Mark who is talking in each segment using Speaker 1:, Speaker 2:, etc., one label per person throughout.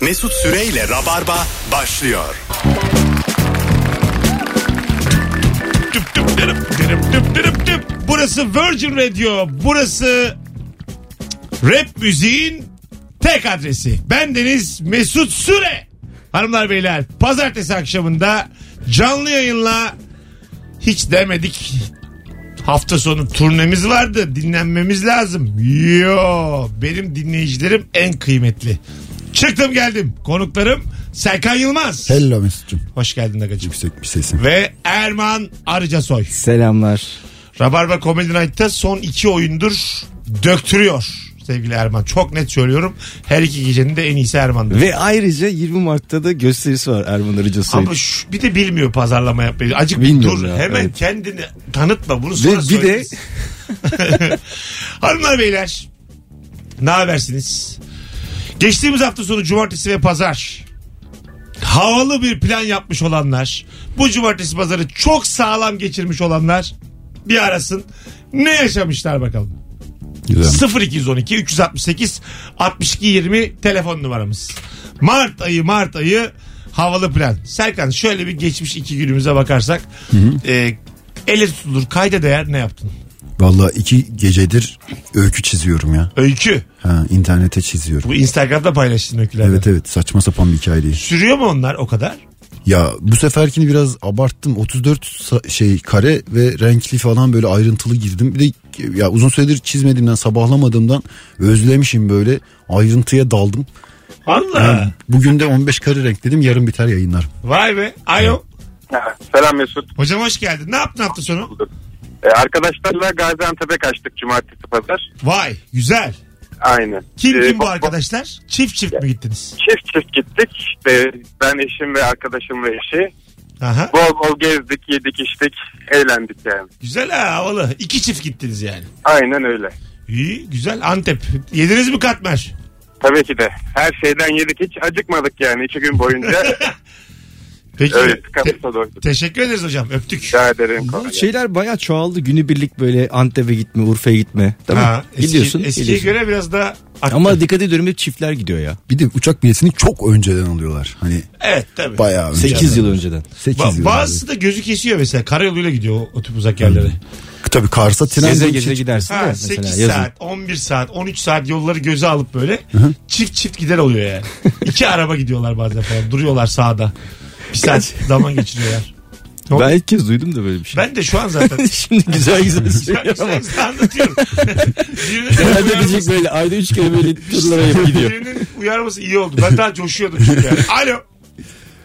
Speaker 1: Mesut Süreyle Rabarba başlıyor.
Speaker 2: Tüp tüp tırıp tırıp tüp tırıp tüp. Burası Virgin Radio. Burası rap müziğin tek adresi. Bendeniz Mesut Süre. Hanımlar beyler pazartesi akşamında canlı yayınla hiç demedik hafta sonu turnemiz vardı. Dinlenmemiz lazım. Yo benim dinleyicilerim en kıymetli. Çıktım geldim. Konuklarım Serkan Yılmaz.
Speaker 3: Hello Mesut'cum.
Speaker 2: Hoş geldin Agacığım.
Speaker 3: Yüksek bir sesin.
Speaker 2: Ve Erman Arıcasoy.
Speaker 4: Selamlar.
Speaker 2: Rabarba Comedy Night'ta son iki oyundur döktürüyor sevgili Erman. Çok net söylüyorum. Her iki gecenin de en iyisi Erman'dır.
Speaker 4: Ve ayrıca 20 Mart'ta da gösterisi var Erman Arıca Soy'un.
Speaker 2: Ama şu- bir de bilmiyor pazarlama yapmayı. Acık bir
Speaker 4: Bilmiyorum
Speaker 2: dur.
Speaker 4: ya,
Speaker 2: Hemen
Speaker 4: evet.
Speaker 2: kendini tanıtma. Bunu sonra
Speaker 4: Ve bir de
Speaker 2: söyleriz. Hanımlar beyler ne habersiniz? Geçtiğimiz hafta sonu cumartesi ve pazar havalı bir plan yapmış olanlar bu cumartesi pazarı çok sağlam geçirmiş olanlar bir arasın ne yaşamışlar bakalım.
Speaker 3: Güzel.
Speaker 2: 0212 368 62 20 telefon numaramız. Mart ayı Mart ayı havalı plan. Serkan şöyle bir geçmiş iki günümüze bakarsak e, ele tutulur kayda değer ne yaptın?
Speaker 3: Valla iki gecedir öykü çiziyorum ya.
Speaker 2: Öykü.
Speaker 3: Ha, internete çiziyorum.
Speaker 2: Bu Instagram'da paylaştın öykülerden.
Speaker 3: Evet evet saçma sapan bir hikaye değil.
Speaker 2: Sürüyor mu onlar o kadar?
Speaker 3: Ya bu seferkini biraz abarttım. 34 sa- şey kare ve renkli falan böyle ayrıntılı girdim. Bir de ya uzun süredir çizmediğimden sabahlamadığımdan özlemişim böyle ayrıntıya daldım.
Speaker 2: Allah.
Speaker 3: Bugün de 15 kare renk dedim yarın biter yayınlar.
Speaker 2: Vay be. Ayo.
Speaker 5: Selam Mesut.
Speaker 2: Hocam hoş geldin. Ne yaptın hafta sonu?
Speaker 5: Ee, arkadaşlarla Gaziantep'e kaçtık cumartesi pazar.
Speaker 2: Vay güzel.
Speaker 5: Aynı.
Speaker 2: Kim
Speaker 5: Ee,
Speaker 2: kim bu
Speaker 5: ba-
Speaker 2: arkadaşlar? Çift çift mi gittiniz?
Speaker 5: Çift çift gittik. İşte ben eşim ve arkadaşım ve eşi.
Speaker 2: Aha.
Speaker 5: Bol bol gezdik, yedik, içtik, eğlendik yani.
Speaker 2: Güzel ha havalı. İki çift gittiniz yani.
Speaker 5: Aynen öyle.
Speaker 2: İyi güzel Antep. Yediniz mi katmer?
Speaker 5: Tabii ki de. Her şeyden yedik hiç acıkmadık yani iki gün boyunca.
Speaker 2: Peki.
Speaker 5: öyle
Speaker 2: Te-
Speaker 5: tıkanırsa doyduk.
Speaker 2: teşekkür ederiz hocam. Öptük.
Speaker 5: Rica ederim. kolay
Speaker 4: bu
Speaker 2: şey-
Speaker 5: gelsin.
Speaker 4: şeyler bayağı çoğaldı. Günübirlik böyle Antep'e gitme, Urfa'ya gitme. Değil mi?
Speaker 2: Ha, eski,
Speaker 4: gidiyorsun.
Speaker 2: Eskiye
Speaker 4: gidiyorsun.
Speaker 2: göre biraz daha arttı.
Speaker 4: Ama dikkat ediyorum hep çiftler gidiyor ya.
Speaker 3: Bir de uçak biletini çok önceden alıyorlar. Hani
Speaker 2: Evet tabii.
Speaker 3: bayağı önceden.
Speaker 4: 8 yıl önceden.
Speaker 3: 8
Speaker 2: Ba-
Speaker 3: yıl.
Speaker 2: bazısı da gözü kesiyor mesela. Karayoluyla gidiyor o, o tip uzak yerlere.
Speaker 3: Tabii Kars'a tren
Speaker 4: Geze
Speaker 3: yolu
Speaker 4: geze gidersin de
Speaker 2: Ha,
Speaker 4: mesela
Speaker 2: 8
Speaker 4: yazın.
Speaker 2: saat, 11 saat, 13 saat yolları göze alıp böyle çift çift gider oluyor yani. İki araba gidiyorlar bazen falan. Duruyorlar sağda. Bir saat zaman geçiriyorlar.
Speaker 4: Ben ilk kez duydum da böyle bir şey.
Speaker 2: Ben de şu an zaten
Speaker 4: Şimdi güzel güzel söylüyor ama.
Speaker 2: Sen- sen anlatıyorum. Birinin
Speaker 4: Ben de
Speaker 2: uyarması-
Speaker 4: diyecek şey böyle ayda 3 kere böyle turlara hep gidiyor.
Speaker 2: birinin uyarması iyi oldu. Ben daha coşuyordum çünkü yani. Alo.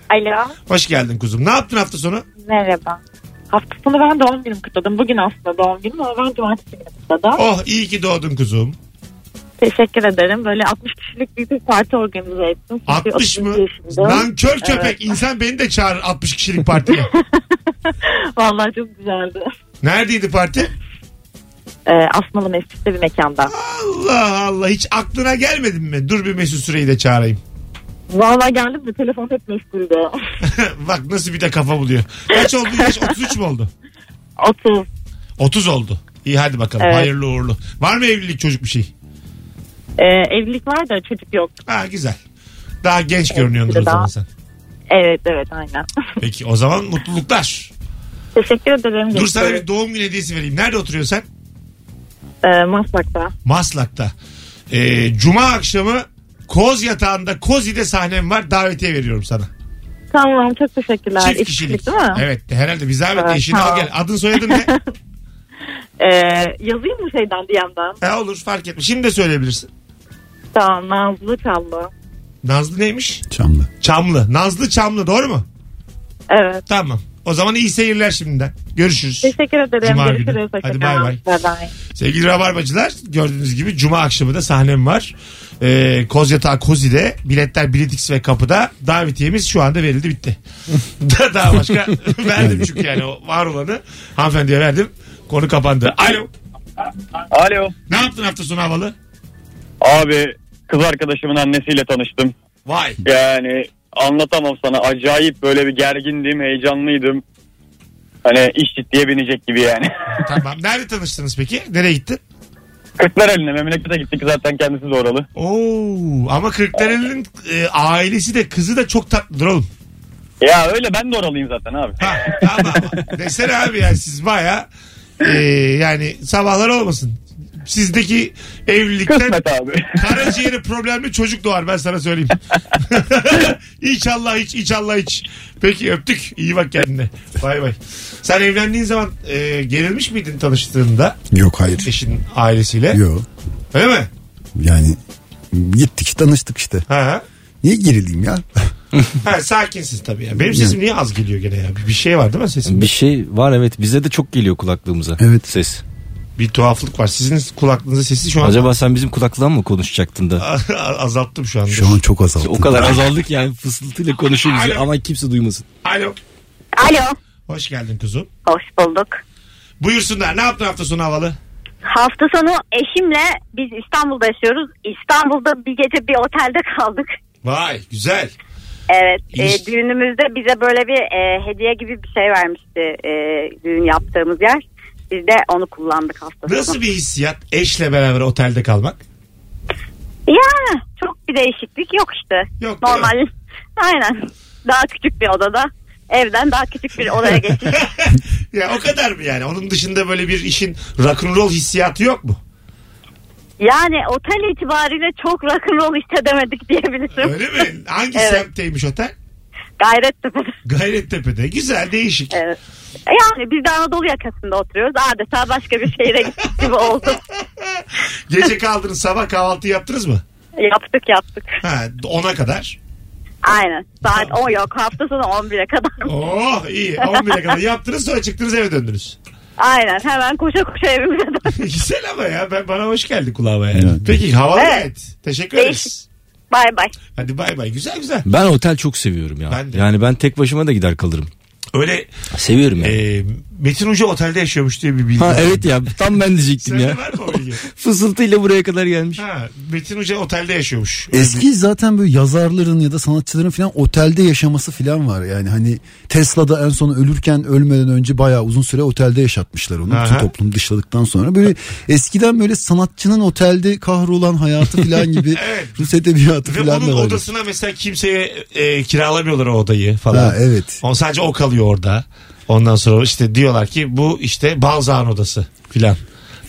Speaker 6: Alo
Speaker 2: Hoş geldin kuzum. Ne yaptın hafta sonu?
Speaker 6: merhaba. Hafta sonu ben doğum günümü kutladım. Bugün aslında doğum günüm ama ben cumartesi günü kutladım.
Speaker 2: Oh iyi ki doğdun kuzum.
Speaker 6: Teşekkür ederim. Böyle 60 kişilik büyük bir parti organize ettim. Çünkü
Speaker 2: 60 mı?
Speaker 6: 32 yaşındayım.
Speaker 2: Nankör köpek. İnsan beni de çağırır 60 kişilik partiye.
Speaker 6: Vallahi çok güzeldi.
Speaker 2: Neredeydi parti?
Speaker 6: Ee, Asmalı Mescid'de bir mekanda.
Speaker 2: Allah Allah. Hiç aklına gelmedi mi? Dur bir Mesut Süreyi de çağırayım.
Speaker 6: Vallahi geldim de telefon hep meşguldü.
Speaker 2: Bak nasıl bir de kafa buluyor. Kaç oldu yaş? 33 mü oldu?
Speaker 6: 30.
Speaker 2: 30 oldu. İyi hadi bakalım.
Speaker 6: Evet.
Speaker 2: Hayırlı uğurlu. Var mı evlilik çocuk bir şey?
Speaker 6: Ee, evlilik var da çocuk yok.
Speaker 2: Ha güzel. Daha genç görünüyordur
Speaker 6: bir
Speaker 2: o
Speaker 6: de
Speaker 2: zaman
Speaker 6: daha.
Speaker 2: sen.
Speaker 6: Evet evet aynen.
Speaker 2: Peki o zaman mutluluklar.
Speaker 6: Teşekkür ederim.
Speaker 2: Dur sana bir doğum günü hediyesi vereyim. Nerede oturuyorsun sen?
Speaker 6: Ee, Maslak'ta.
Speaker 2: Maslak'ta. Ee, Cuma akşamı Koz yatağında Kozi'de sahnem var. Davetiye veriyorum sana.
Speaker 6: Tamam çok teşekkürler.
Speaker 2: Çift
Speaker 6: İki
Speaker 2: kişilik.
Speaker 6: değil mi?
Speaker 2: Evet herhalde bir zahmet
Speaker 6: Evet,
Speaker 2: eşini al
Speaker 6: tamam.
Speaker 2: gel. Adın soyadın ne?
Speaker 6: Ee, yazayım mı şeyden DM'den?
Speaker 2: ha, olur fark etme. Şimdi de söyleyebilirsin.
Speaker 6: Tamam Nazlı Çallı.
Speaker 2: Nazlı neymiş?
Speaker 3: Çamlı.
Speaker 2: Çamlı. Nazlı Çamlı doğru mu?
Speaker 6: Evet.
Speaker 2: Tamam. O zaman iyi seyirler şimdiden. Görüşürüz.
Speaker 6: Teşekkür ederim.
Speaker 2: Cuma günü.
Speaker 6: Görüşürüz.
Speaker 2: Hadi
Speaker 6: Hoşça
Speaker 2: bay
Speaker 6: kalın.
Speaker 2: bay.
Speaker 6: Bay bay.
Speaker 2: Sevgili Rabarbacılar gördüğünüz gibi Cuma akşamı da sahnem var. Ee, Koz Yatağı Kozi'de biletler Biletix ve kapıda davetiyemiz şu anda verildi bitti. Da- Daha başka verdim çünkü yani o var olanı hanımefendiye verdim. Konu kapandı. Alo.
Speaker 7: Alo.
Speaker 2: Ne yaptın hafta sonu havalı?
Speaker 7: Abi kız arkadaşımın annesiyle tanıştım.
Speaker 2: Vay.
Speaker 7: Yani anlatamam sana. Acayip böyle bir gergindim, heyecanlıydım. Hani iş ciddiye binecek gibi yani.
Speaker 2: Tamam. Nerede tanıştınız peki? Nereye gittin?
Speaker 7: Kırklar eline memlekete gittik zaten kendisi de oralı.
Speaker 2: Oo, ama Kırklareli'nin e, ailesi de kızı da çok tatlıdır oğlum.
Speaker 7: Ya öyle ben de oralıyım zaten abi.
Speaker 2: Ha, tamam. Desene abi ya siz baya e, yani sabahlar olmasın. Sizdeki evlilikten
Speaker 7: Kısmet abi.
Speaker 2: Karaciğeri problemli çocuk doğar ben sana söyleyeyim. inşallah hiç inşallah hiç. Peki öptük. İyi bak kendine. Bay bay. Sen evlendiğin zaman e, gerilmiş miydin tanıştığında
Speaker 3: Yok hayır.
Speaker 2: eşin ailesiyle?
Speaker 3: Yok.
Speaker 2: Öyle mi?
Speaker 3: Yani gittik tanıştık işte.
Speaker 2: Ha, ha.
Speaker 3: Niye gerileyim ya?
Speaker 2: ha sakinsiz tabii ya. Benim sesim niye az geliyor gene ya? Bir şey var değil mi sesimde?
Speaker 4: Bir
Speaker 2: Bir,
Speaker 4: şey var evet bize de çok geliyor kulaklığımıza.
Speaker 3: Evet.
Speaker 4: Ses.
Speaker 2: tuhaflık var. Sizin kulaklığınızın sesi şu an
Speaker 4: Acaba sen bizim kulaklığa mı konuşacaktın da?
Speaker 2: azalttım şu anda.
Speaker 3: Şu an çok azalttım.
Speaker 4: O kadar azaldık yani fısıltıyla konuşuyoruz
Speaker 2: Alo.
Speaker 4: ama kimse duymasın.
Speaker 2: Alo.
Speaker 8: Alo.
Speaker 2: Hoş geldin kuzum.
Speaker 8: Hoş bulduk.
Speaker 2: Buyursunlar. Ne yaptın hafta sonu havalı?
Speaker 8: Hafta sonu eşimle biz İstanbul'da yaşıyoruz. İstanbul'da bir gece bir otelde kaldık.
Speaker 2: Vay güzel.
Speaker 8: Evet. e,
Speaker 2: İş-
Speaker 8: düğünümüzde bize böyle bir e, hediye gibi bir şey vermişti e, düğün yaptığımız yer. Biz de onu kullandık hafta sonu.
Speaker 2: Nasıl bir hissiyat eşle beraber otelde kalmak?
Speaker 8: Ya çok bir değişiklik yok işte.
Speaker 2: Yok,
Speaker 8: Normal. Aynen. Daha küçük bir odada. Evden daha küçük bir odaya geçtik.
Speaker 2: ya o kadar mı yani? Onun dışında böyle bir işin rock'n'roll hissiyatı yok mu?
Speaker 8: yani otel itibariyle çok rock'n'roll hissedemedik diyebilirim.
Speaker 2: Öyle mi? Hangi
Speaker 8: Evet.
Speaker 2: semtteymiş otel?
Speaker 8: Gayrettepe'de.
Speaker 2: Gayrettepe'de. Güzel, değişik.
Speaker 8: Evet. Yani biz de Anadolu yakasında oturuyoruz. Adeta başka bir şehire gittik gibi oldu.
Speaker 2: Gece kaldınız sabah kahvaltı yaptınız mı?
Speaker 8: yaptık yaptık.
Speaker 2: Ha, 10'a kadar.
Speaker 8: Aynen. Saat 10 yok. Hafta sonu 11'e kadar.
Speaker 2: Oh iyi 11'e kadar yaptınız sonra çıktınız eve döndünüz.
Speaker 8: Aynen. Hemen koşa koşa evimize dön-
Speaker 2: Güzel ama ya ben, bana hoş geldi kulağıma yani. Peki havalı
Speaker 8: Evet.
Speaker 2: gayet. Teşekkür ederiz.
Speaker 8: Değişik. Bay bay.
Speaker 2: Hadi bay bay güzel güzel.
Speaker 4: Ben otel çok seviyorum ya.
Speaker 2: Ben de.
Speaker 4: Yani ben tek başıma da gider kalırım.
Speaker 2: Öyle
Speaker 4: Seviyorum ya.
Speaker 2: e, Metin Hoca otelde yaşıyormuş diye bir bilgi.
Speaker 4: ha
Speaker 2: var.
Speaker 4: evet ya tam ben diyecektim
Speaker 2: Sende
Speaker 4: ya.
Speaker 2: var mı o bilgi?
Speaker 4: Fısıltıyla buraya kadar gelmiş.
Speaker 2: Ha, Metin Hoca otelde yaşıyormuş.
Speaker 3: Eski zaten böyle yazarların ya da sanatçıların falan otelde yaşaması falan var. Yani hani Tesla'da en son ölürken ölmeden önce bayağı uzun süre otelde yaşatmışlar onu.
Speaker 2: Aha.
Speaker 3: Bütün toplum dışladıktan sonra. Böyle eskiden böyle sanatçının otelde kahrolan hayatı falan gibi
Speaker 2: Evet.
Speaker 3: Rus edebiyatı
Speaker 2: Ve
Speaker 3: falan
Speaker 2: onun
Speaker 3: da var.
Speaker 2: odasına mesela kimseye e, kiralamıyorlar o odayı falan.
Speaker 3: Ha, evet.
Speaker 2: On sadece o kalıyor orada. Ondan sonra işte diyorlar ki bu işte Balzac'ın odası filan.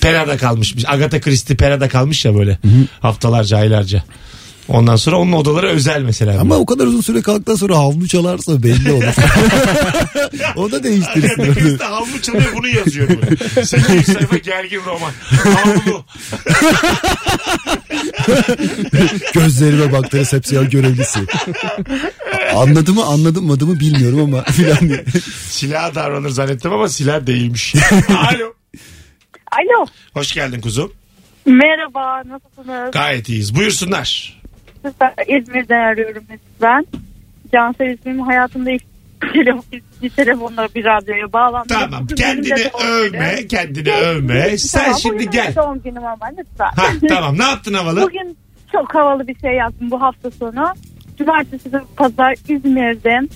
Speaker 2: Pera'da kalmış. Agatha Christie Pera'da kalmış ya böyle. Haftalarca, aylarca. Ondan sonra onun odaları özel mesela.
Speaker 3: Ama o kadar uzun süre kalktıktan sonra havlu çalarsa belli olur. o da değiştirsin.
Speaker 2: Agatha Christie havlu çalıyor bunu yazıyor böyle. 800 sayfa gergin roman. Havlu.
Speaker 3: Gözlerime baktı resepsiyon görevlisi. Anladı mı anlamadı mı bilmiyorum ama filan diye.
Speaker 2: Silah davranır zannettim ama silah değilmiş. Alo.
Speaker 6: Alo.
Speaker 2: Hoş geldin kuzum.
Speaker 6: Merhaba. Nasılsınız?
Speaker 2: Gayet iyiyiz. Buyursunlar.
Speaker 6: Ben İzmir'den arıyorum ben. Cansel ismim hayatımda ilk telefon, bir telefonla bir radyoya bağlandım.
Speaker 2: Tamam.
Speaker 6: Bugün
Speaker 2: Kendini
Speaker 6: benim de doğum günüm.
Speaker 2: övme. Kendini övme. Sen
Speaker 6: Tamam,
Speaker 2: şimdi
Speaker 6: bugün
Speaker 2: gel.
Speaker 6: benim Doğum günüm ama lütfen.
Speaker 2: Ha tamam. Ne yaptın havalı?
Speaker 6: Bugün çok havalı bir şey yaptım bu hafta sonu. Cumartesi ve pazar İzmir'de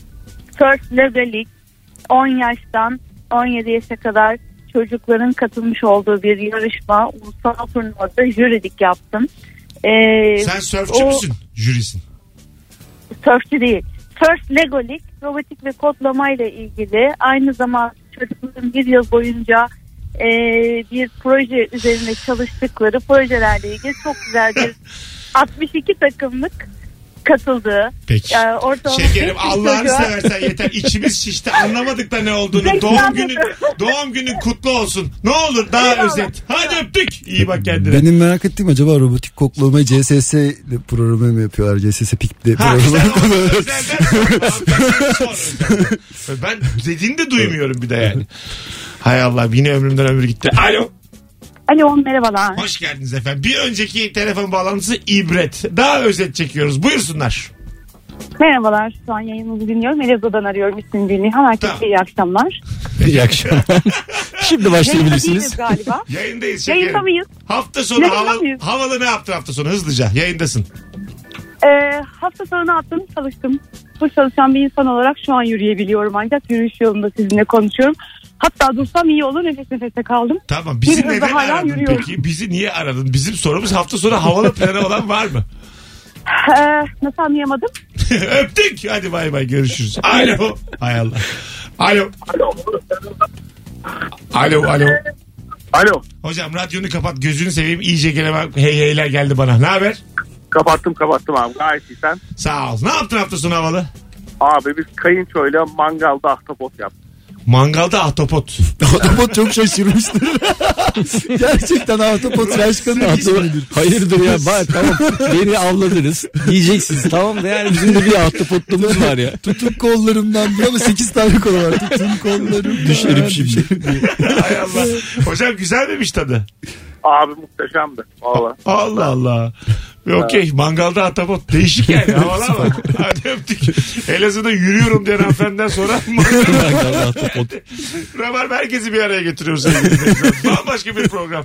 Speaker 6: First Levelik 10 yaştan 17 yaşa kadar çocukların katılmış olduğu bir yarışma. Ulusal turnuvada jürilik yaptım. Ee,
Speaker 2: Sen sörfçü
Speaker 6: o-
Speaker 2: müsün? Jürisin.
Speaker 6: Sörfçü değil. First Lego League robotik ve kodlama ile ilgili aynı zamanda çocukların bir yıl boyunca e, bir proje üzerine çalıştıkları projelerle ilgili çok güzel bir 62 takımlık katıldığı
Speaker 2: Peki.
Speaker 6: e, ortalama
Speaker 2: Şekerim
Speaker 6: 500
Speaker 2: Allah'ını
Speaker 6: çocuğa-
Speaker 2: seversen yeter. İçimiz şişti. Anlamadık da ne olduğunu.
Speaker 6: Zeka
Speaker 2: Doğum
Speaker 6: dedi.
Speaker 2: günün doğum günün kutlu olsun. Ne olur daha
Speaker 6: Eyvallah.
Speaker 2: özet. Hadi öptük. İyi bak kendine.
Speaker 3: Benim merak ettiğim acaba robotik koklamayı CSS ile programı mı yapıyorlar? CSS pikle
Speaker 2: Ha, sen
Speaker 3: programı
Speaker 2: onu
Speaker 3: mı?
Speaker 2: özelden sor. Özelden sor, özelden. ben dediğini de duymuyorum bir de yani. Hay Allah yine ömrümden ömür gitti. Alo.
Speaker 6: Alo merhabalar.
Speaker 2: Hoş geldiniz efendim. Bir önceki telefon bağlantısı ibret. Daha özet çekiyoruz. Buyursunlar.
Speaker 6: Merhabalar şu an yayınımızı dinliyorum. Elazığ'dan arıyorum ismim Gülnihan. Herkese
Speaker 2: Tamam.
Speaker 6: iyi akşamlar.
Speaker 4: İyi akşamlar. Şimdi
Speaker 6: Yayında
Speaker 4: başlayabilirsiniz.
Speaker 6: değiliz galiba.
Speaker 2: Yayındayız şekerim.
Speaker 6: Yayında mıyız?
Speaker 2: Hafta sonu
Speaker 6: Yayında
Speaker 2: hava,
Speaker 6: mıyız?
Speaker 2: havalı ne yaptın hafta sonu? Hızlıca yayındasın.
Speaker 6: Ee, hafta sonu ne yaptım? Çalıştım. Bu çalışan bir insan olarak şu an yürüyebiliyorum ancak yürüyüş yolunda sizinle konuşuyorum. Hatta dursam iyi olur nefes nefese kaldım.
Speaker 2: Tamam bizi
Speaker 6: Bir hızla
Speaker 2: neden
Speaker 6: hala
Speaker 2: aradın
Speaker 6: yürüyorum.
Speaker 2: peki? Bizi niye aradın? Bizim sorumuz hafta sonu havalı planı olan var mı?
Speaker 6: Ee, nasıl anlayamadım?
Speaker 2: Öptük. Hadi bay bay görüşürüz. Alo. Hay Allah. Alo. Alo alo.
Speaker 5: Alo.
Speaker 2: Hocam radyonu kapat gözünü seveyim iyice gelemem. Hey heyler geldi bana. Ne haber?
Speaker 5: Kapattım kapattım abi. Gayet iyi sen.
Speaker 2: Sağ ol. Ne yaptın hafta sonu havalı?
Speaker 5: Abi biz kayınçoyla mangalda ahtapot yaptık.
Speaker 2: Mangalda ahtapot.
Speaker 3: Ahtapot çok şaşırmıştır. Gerçekten ahtapot şaşkınlık içindedir.
Speaker 4: Hayırdır ya bak tamam beni avladınız diyeceksiniz tamam da yani bizim de bir ahtapotluğumuz var ya.
Speaker 3: Tutup kollarımdan diyor ama 8 tane kol var. Tutun kollarımdan.
Speaker 4: Düşerim şimdi.
Speaker 2: Hay Allah. Hocam güzel miymiş tadı?
Speaker 5: Abi muhteşemdi. Valla.
Speaker 2: Allah Allah. Ve Okey mangalda ahtapot. Değişik yani havalı ama. Hadi öptük. Elazığ'da yürüyorum diyen hanımefendiden sonra mangalda
Speaker 4: ahtapot.
Speaker 2: Rabarba herkesi bir araya getiriyor sevgili dinleyiciler. Bambaşka bir program.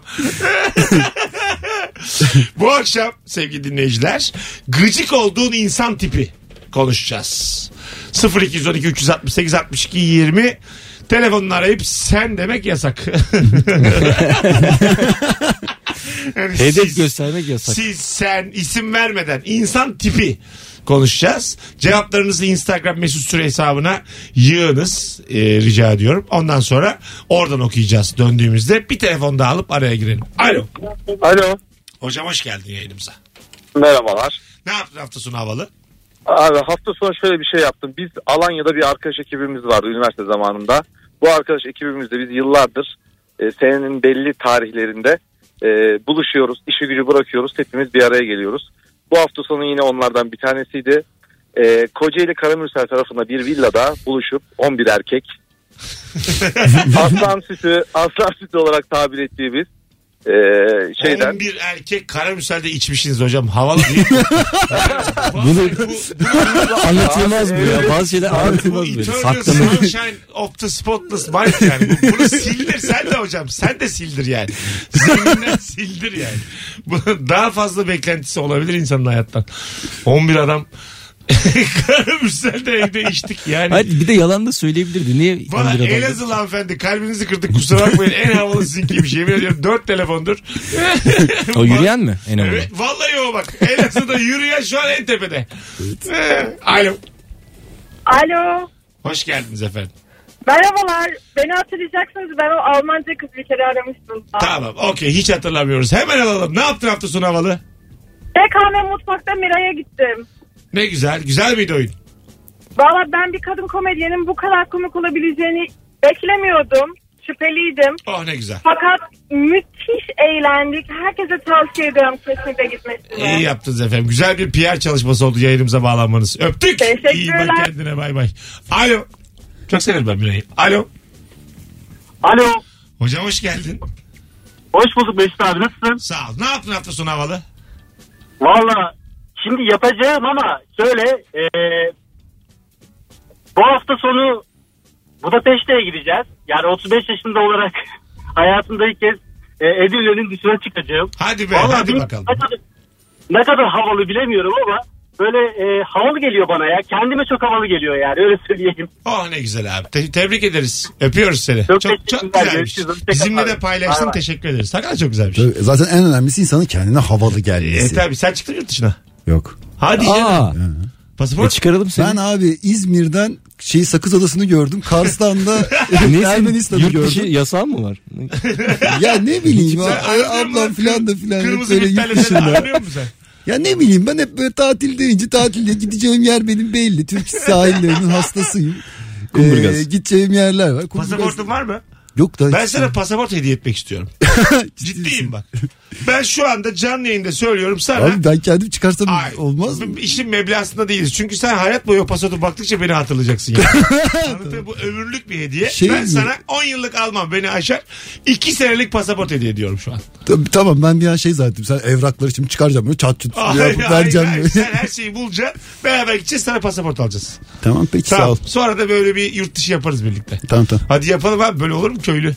Speaker 2: Bu akşam sevgili dinleyiciler gıcık olduğun insan tipi konuşacağız. 0212 368 62 20 telefonunu arayıp sen demek yasak. Yani
Speaker 4: Hedef
Speaker 2: siz-
Speaker 4: göstermek yasak.
Speaker 2: siz, sen isim vermeden insan tipi konuşacağız. Cevaplarınızı Instagram mesut süre hesabına yığınız e, rica ediyorum. Ondan sonra oradan okuyacağız döndüğümüzde. Bir telefon daha alıp araya girelim. Alo.
Speaker 5: Alo.
Speaker 2: Hocam hoş geldin yayınımıza.
Speaker 5: Merhabalar.
Speaker 2: Ne yaptın hafta sonu havalı?
Speaker 5: Abi hafta sonu şöyle bir şey yaptım. Biz Alanya'da bir arkadaş ekibimiz vardı üniversite zamanında. Bu arkadaş ekibimizde biz yıllardır e, senenin belli tarihlerinde e, buluşuyoruz. işi gücü bırakıyoruz. Hepimiz bir araya geliyoruz. Bu hafta sonu yine onlardan bir tanesiydi. E, Kocaeli Karamürsel tarafında bir villada buluşup 11 erkek. aslan sütü, aslan sütü olarak tabir ettiğimiz e, şeyden.
Speaker 2: 11 erkek karamüselde içmişsiniz hocam. Havalı değil mi? Bunu...
Speaker 4: Anlatılmaz bu ya bazı şeyler
Speaker 2: Bu
Speaker 4: anlatılmaz böyle
Speaker 2: Eternal
Speaker 4: saklanır.
Speaker 2: Sunshine of the Spotless Mind yani. Bu- Bunu sildir sen de hocam. Sen de sildir yani. Zeminden sildir yani. Bu- Daha fazla beklentisi olabilir insanın hayattan. 11 adam Karamürsel de evde içtik yani.
Speaker 4: Hayır, bir de yalan da söyleyebilirdi. Niye?
Speaker 2: Valla
Speaker 4: bir adam-
Speaker 2: Elazığlı hanımefendi kalbinizi kırdık kusura bakmayın en havalı sizinkiymiş yemin ediyorum dört telefondur.
Speaker 4: O yürüyen mi? En önemli.
Speaker 2: Evet, vallahi o bak Elazığ'da yürüyen şu an en tepede. Ee, Alo
Speaker 6: Alo.
Speaker 2: hoş geldiniz efendim.
Speaker 6: Merhabalar. Beni hatırlayacaksınız. Ben o Almanca kız bir kere aramıştım.
Speaker 2: Tamam okey hiç hatırlamıyoruz. Hemen alalım. Ne yaptın hafta sonu havalı?
Speaker 6: TKM Mutfak'ta Miray'a gittim.
Speaker 2: Ne güzel. Güzel miydi oyun?
Speaker 6: Valla ben bir kadın komedyenin bu kadar komik olabileceğini beklemiyordum. Şüpheliydim.
Speaker 2: Oh ne güzel.
Speaker 6: Fakat müthiş eğlendik. Herkese tavsiye ediyorum kesinlikle gitmesini.
Speaker 2: İyi yaptınız efendim. Güzel bir PR çalışması oldu yayınımıza bağlanmanız. Öptük.
Speaker 6: Teşekkürler.
Speaker 2: İyi bak kendine bay bay. Alo. Çok severim ben Miray'ı. Alo.
Speaker 5: Alo.
Speaker 2: Hocam hoş geldin.
Speaker 5: Hoş bulduk Mesut abi nasılsın?
Speaker 2: Sağ ol. Ne yaptın hafta sonu havalı?
Speaker 5: Valla şimdi yapacağım ama şöyle eee, bu hafta sonu Budapeşte'ye gideceğiz. Yani 35 yaşında olarak hayatımda ilk kez e, Edirne'nin dışına çıkacağım.
Speaker 2: Hadi be
Speaker 5: Vallahi
Speaker 2: hadi
Speaker 5: bir-
Speaker 2: bakalım.
Speaker 5: Ne kadar, ne kadar havalı bilemiyorum ama böyle e, havalı geliyor bana ya. Kendime çok havalı geliyor yani öyle söyleyeyim.
Speaker 2: Oh ne güzel abi. Te- tebrik ederiz. Öpüyoruz seni. Çok,
Speaker 5: Çok
Speaker 2: çok,
Speaker 5: teşekkürler.
Speaker 2: güzelmiş.
Speaker 5: Görüşürüz. Hoşça kal
Speaker 2: Bizimle
Speaker 5: abi.
Speaker 2: de paylaştın.
Speaker 5: Bay bay.
Speaker 2: Teşekkür ederiz. Sakın çok güzelmiş.
Speaker 3: Tabii, Zaten en önemlisi insanın kendine havalı
Speaker 2: E,
Speaker 3: gelmesi.
Speaker 2: tabii sen çıktın yurt dışına.
Speaker 3: Yok.
Speaker 2: Hadi canım.
Speaker 4: Aa, e
Speaker 2: Pasaport.
Speaker 4: çıkaralım seni.
Speaker 3: Ben abi İzmir'den şey Sakız Adası'nı gördüm. Kars'tan
Speaker 4: Neyse,
Speaker 3: da Ermenistan'ı
Speaker 4: yurt dışı
Speaker 3: gördüm.
Speaker 4: yasağı mı var?
Speaker 3: Ya ne bileyim
Speaker 2: Sen
Speaker 3: a-
Speaker 2: aradın
Speaker 3: ablam
Speaker 2: mı?
Speaker 3: filan da filan. hep
Speaker 2: Kırmızı
Speaker 3: böyle
Speaker 2: bir
Speaker 3: yurt
Speaker 2: tane sen
Speaker 3: dışında.
Speaker 2: aranıyor musun sen?
Speaker 3: Ya ne bileyim ben hep böyle tatil deyince tatilde gideceğim yer benim belli. Türk sahillerinin hastasıyım. Ee,
Speaker 4: Kumburgaz.
Speaker 3: gideceğim yerler var. Kumburgaz-
Speaker 2: Pasaportun var mı?
Speaker 3: Yok da.
Speaker 2: Ben sana pasaport hediye etmek istiyorum. Ciddiyim bak. Ben şu anda canlı yayında söylüyorum sana.
Speaker 3: Abi ben kendim çıkarsam
Speaker 2: Ay,
Speaker 3: olmaz mı?
Speaker 2: bu İşin meblağında değiliz. Çünkü sen hayat boyu o pasaporta baktıkça beni hatırlayacaksın. Yani. Anlatıyor, bu ömürlük bir hediye.
Speaker 3: Şey
Speaker 2: ben
Speaker 3: mi?
Speaker 2: sana 10 yıllık almam beni aşar. 2 senelik pasaport hediye ediyorum şu an.
Speaker 3: Tabii, tamam ben bir an şey zannettim. Sen evrakları şimdi çıkaracağım böyle çat çut.
Speaker 2: Ay, ay,
Speaker 3: yapıp vereceğim
Speaker 2: ay,
Speaker 3: böyle.
Speaker 2: Sen her şeyi bulacaksın. Beraber gideceğiz sana pasaport alacağız.
Speaker 3: Tamam peki sağ
Speaker 2: Tamam.
Speaker 3: ol.
Speaker 2: Sonra da böyle bir yurt dışı yaparız birlikte.
Speaker 3: Tamam tamam.
Speaker 2: Hadi yapalım abi böyle olur mu? köylü.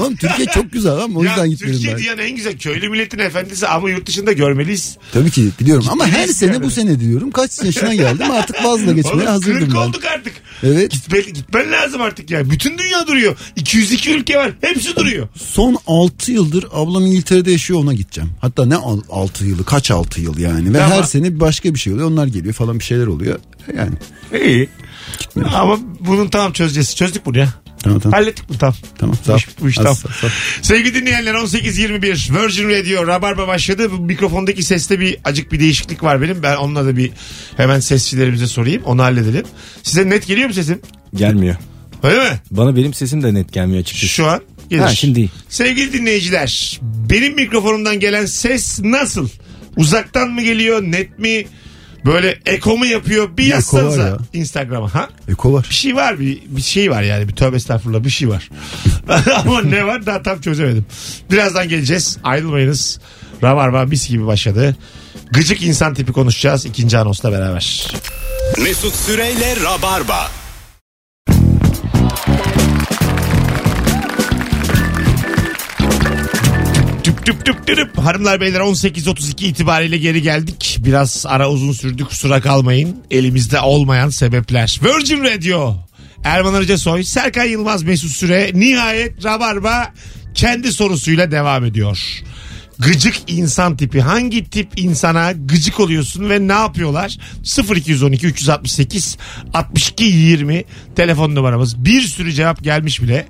Speaker 3: Oğlum Türkiye çok güzel lan o
Speaker 2: Ya,
Speaker 3: yüzden gitmedim
Speaker 2: Türkiye
Speaker 3: ben.
Speaker 2: dünyanın en güzel köylü milletin efendisi ama yurt dışında görmeliyiz.
Speaker 3: Tabii ki biliyorum ama her
Speaker 2: Gitmeyiz
Speaker 3: sene
Speaker 2: yani.
Speaker 3: bu sene diyorum. Kaç yaşına geldim artık vazla
Speaker 2: Oğlum
Speaker 3: geçmeye
Speaker 2: 40
Speaker 3: hazırdım ben.
Speaker 2: olduk artık.
Speaker 3: Evet.
Speaker 2: Gitmen, gitmen lazım artık ya. Bütün dünya duruyor. 202 ülke var. Hepsi duruyor.
Speaker 3: Son 6 yıldır ablam İngiltere'de yaşıyor ona gideceğim. Hatta ne 6 yılı kaç 6 yıl yani. Ve
Speaker 2: Tamam.
Speaker 3: her sene başka bir şey oluyor. Onlar geliyor falan bir şeyler oluyor. Yani
Speaker 2: İyi. Ama bunun tamam çözeceğiz. Çözdük bunu ya.
Speaker 3: tamam tamam.
Speaker 2: Hallettik bunu tamam.
Speaker 3: Tamam sağ ol.
Speaker 2: Bu iş- bu iş
Speaker 3: Az-
Speaker 2: tamam.
Speaker 3: sağ ol.
Speaker 2: Sevgili dinleyenler 18.21 Virgin Radio Rabarba başladı. Bu mikrofondaki seste bir acık bir değişiklik var benim. Ben onunla da bir hemen sesçilerimize sorayım. Onu halledelim. Size net geliyor mu sesim?
Speaker 4: Gelmiyor.
Speaker 2: Öyle mi?
Speaker 4: Bana benim sesim de net gelmiyor açıkçası.
Speaker 2: Şu an gelir.
Speaker 4: Ha, şimdi iyi.
Speaker 2: Sevgili dinleyiciler benim mikrofonumdan gelen ses nasıl? Uzaktan mı geliyor? Net mi? Böyle eko mu yapıyor? Bir
Speaker 3: eko var
Speaker 2: yazsanıza
Speaker 3: ya.
Speaker 2: Instagram'a. Ha?
Speaker 3: Eko var.
Speaker 2: Bir şey var bir, bir şey var yani bir tövbe estağfurullah bir şey var. Ama ne var daha tam çözemedim. Birazdan geleceğiz ayrılmayınız. Rabarba mis gibi başladı. Gıcık insan tipi konuşacağız ikinci anonsla beraber.
Speaker 1: Mesut Süreyle Rabarba.
Speaker 2: Tüp tüp tüp tüp. Hanımlar beyler 18.32 itibariyle geri geldik. Biraz ara uzun sürdü kusura kalmayın. Elimizde olmayan sebepler. Virgin Radio. Erman Arıca Soy, Serkan Yılmaz Mesut Süre nihayet Rabarba kendi sorusuyla devam ediyor. Gıcık insan tipi. Hangi tip insana gıcık oluyorsun ve ne yapıyorlar? 0212 368 62 20 telefon numaramız. Bir sürü cevap gelmiş bile.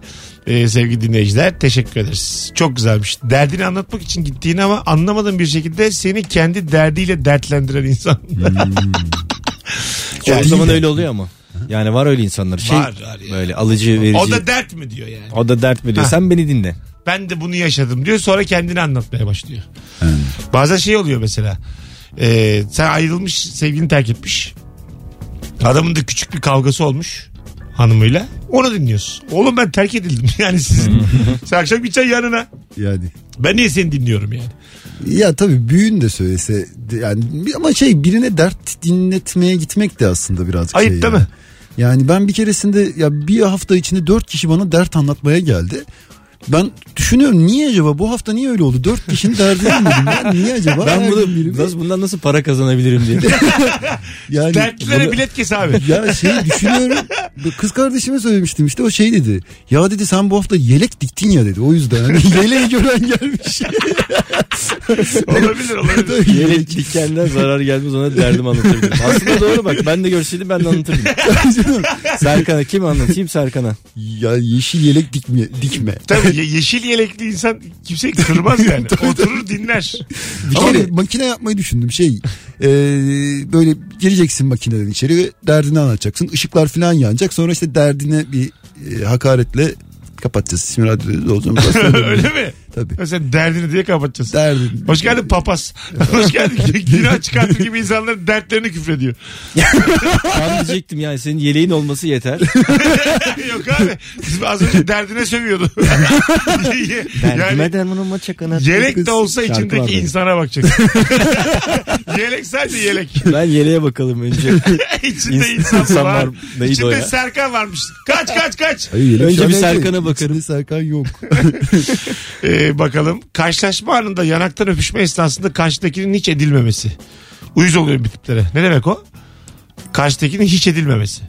Speaker 2: Ee, sevgili dinleyiciler teşekkür ederiz. Çok güzelmiş. Derdini anlatmak için gittiğini ama anlamadığın bir şekilde seni kendi derdiyle dertlendiren insan.
Speaker 4: O zaman öyle oluyor ama. Yani var öyle insanlar. Şey,
Speaker 2: Var, var ya.
Speaker 4: Böyle alıcı verici.
Speaker 2: o da dert mi diyor yani.
Speaker 4: o da dert veriyor.
Speaker 2: Ha.
Speaker 4: Sen beni dinle.
Speaker 2: ben de bunu yaşadım diyor. Sonra kendini anlatmaya başlıyor. Bazen şey oluyor mesela. Ee, sen ayrılmış sevgilini terk etmiş. Adamın da küçük bir kavgası olmuş hanımıyla. Onu dinliyorsun. Oğlum ben terk edildim. Yani siz, sen akşam gideceksin yanına.
Speaker 3: Yani.
Speaker 2: Ben niye seni dinliyorum yani?
Speaker 3: Ya tabii büyüğün de söylese yani bir- ama şey birine dert dinletmeye gitmek de aslında birazcık
Speaker 2: Ayıp
Speaker 3: şey
Speaker 2: değil
Speaker 3: ya.
Speaker 2: mi?
Speaker 3: Yani ben bir keresinde ya bir hafta içinde dört kişi bana dert anlatmaya geldi. Ben düşünüyorum niye acaba bu hafta niye öyle oldu? Dört kişinin derdini dinledim ben. Niye acaba?
Speaker 4: Ben
Speaker 3: Her
Speaker 4: bunu,
Speaker 3: gün biri-
Speaker 4: nasıl, bundan nasıl para kazanabilirim diye.
Speaker 3: yani
Speaker 2: Dertlilere
Speaker 3: bunu-
Speaker 2: bilet kes abi.
Speaker 3: Ya şey düşünüyorum. Bu Kız kardeşime söylemiştim işte o şey dedi. Ya dedi sen bu hafta yelek diktin ya dedi. O yüzden hani yeleği gören gelmiş.
Speaker 2: olabilir olabilir.
Speaker 4: Yelek dikenden zarar gelmez ona derdim anlatırdım. Aslında doğru bak ben de görseydim ben de anlatırdım. Serkan'a kim anlatayım Serkan'a?
Speaker 3: ya yeşil yelek dikme. dikme.
Speaker 2: Tabii ye- yeşil yelekli insan kimseyi kırmaz yani. Oturur dinler.
Speaker 3: Bir
Speaker 2: Ama
Speaker 3: kere makine yapmayı düşündüm şey e, böyle gireceksin makineden içeri ve derdini anlatacaksın ışıklar falan yanacak sonra işte derdine bir e, hakaretle kapatacağız İsmi radyoda olacağım
Speaker 2: Öyle mi?
Speaker 3: Tabii.
Speaker 2: Mesela derdini diye kapatacağız.
Speaker 3: Derdin.
Speaker 2: Hoş geldin papaz. Hoş geldin. Günah çıkarttı gibi insanların dertlerini küfrediyor.
Speaker 4: Ben diyecektim yani senin yeleğin olması yeter.
Speaker 2: Yok abi. Az önce derdine sövüyordu. yani
Speaker 4: Derdime dermanıma çakana.
Speaker 2: yelek de olsa
Speaker 4: Şarkı vardı.
Speaker 2: içindeki insana bakacak. yelek sadece yelek.
Speaker 4: Ben yeleğe bakalım önce.
Speaker 2: İçinde
Speaker 4: İns-
Speaker 2: insan, var.
Speaker 4: insan var. Neydi o
Speaker 2: İçinde
Speaker 4: ya?
Speaker 2: Serkan varmış. Kaç kaç kaç.
Speaker 3: Hayır, yelek
Speaker 4: Önce
Speaker 3: falan
Speaker 4: bir
Speaker 3: yok.
Speaker 4: Serkan'a bakarım.
Speaker 3: İçinde Serkan yok.
Speaker 2: Ee, bakalım. Karşılaşma anında yanaktan öpüşme esnasında karşıdakinin hiç edilmemesi. Uyuz oluyor bir tiplere. Ne demek o? Karşıdakinin hiç edilmemesi.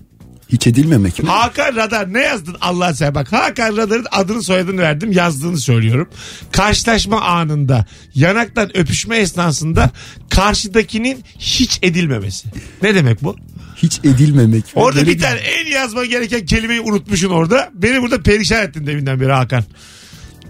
Speaker 3: Hiç edilmemek mi?
Speaker 2: Hakan Radar ne yazdın Allah sen bak. Hakan Radar'ın adını soyadını verdim yazdığını söylüyorum. Karşılaşma anında yanaktan öpüşme esnasında karşıdakinin hiç edilmemesi. Ne demek bu?
Speaker 3: Hiç edilmemek. mi?
Speaker 2: Orada
Speaker 3: Böyle
Speaker 2: bir tane en yazma gereken kelimeyi unutmuşsun orada. Beni burada perişan ettin deminden beri Hakan.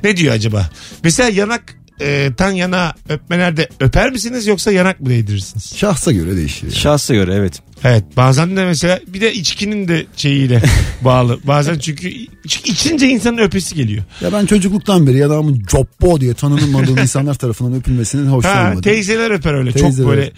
Speaker 2: Ne diyor acaba? Mesela yanak e, tan yana öpmelerde öper misiniz yoksa yanak mı değdirirsiniz?
Speaker 3: Şahsa göre değişiyor. yani.
Speaker 4: Şahsa göre evet.
Speaker 2: Evet bazen de mesela bir de içkinin de şeyiyle bağlı. Bazen çünkü iç- içince insanın öpesi geliyor.
Speaker 3: Ya ben çocukluktan beri adamın coppo diye tanınmadığım insanlar tarafından öpülmesinin
Speaker 2: Ha,
Speaker 3: hoşlanmadım.
Speaker 2: teyzeler öper öyle.
Speaker 3: Teyzeler.
Speaker 2: Çok böyle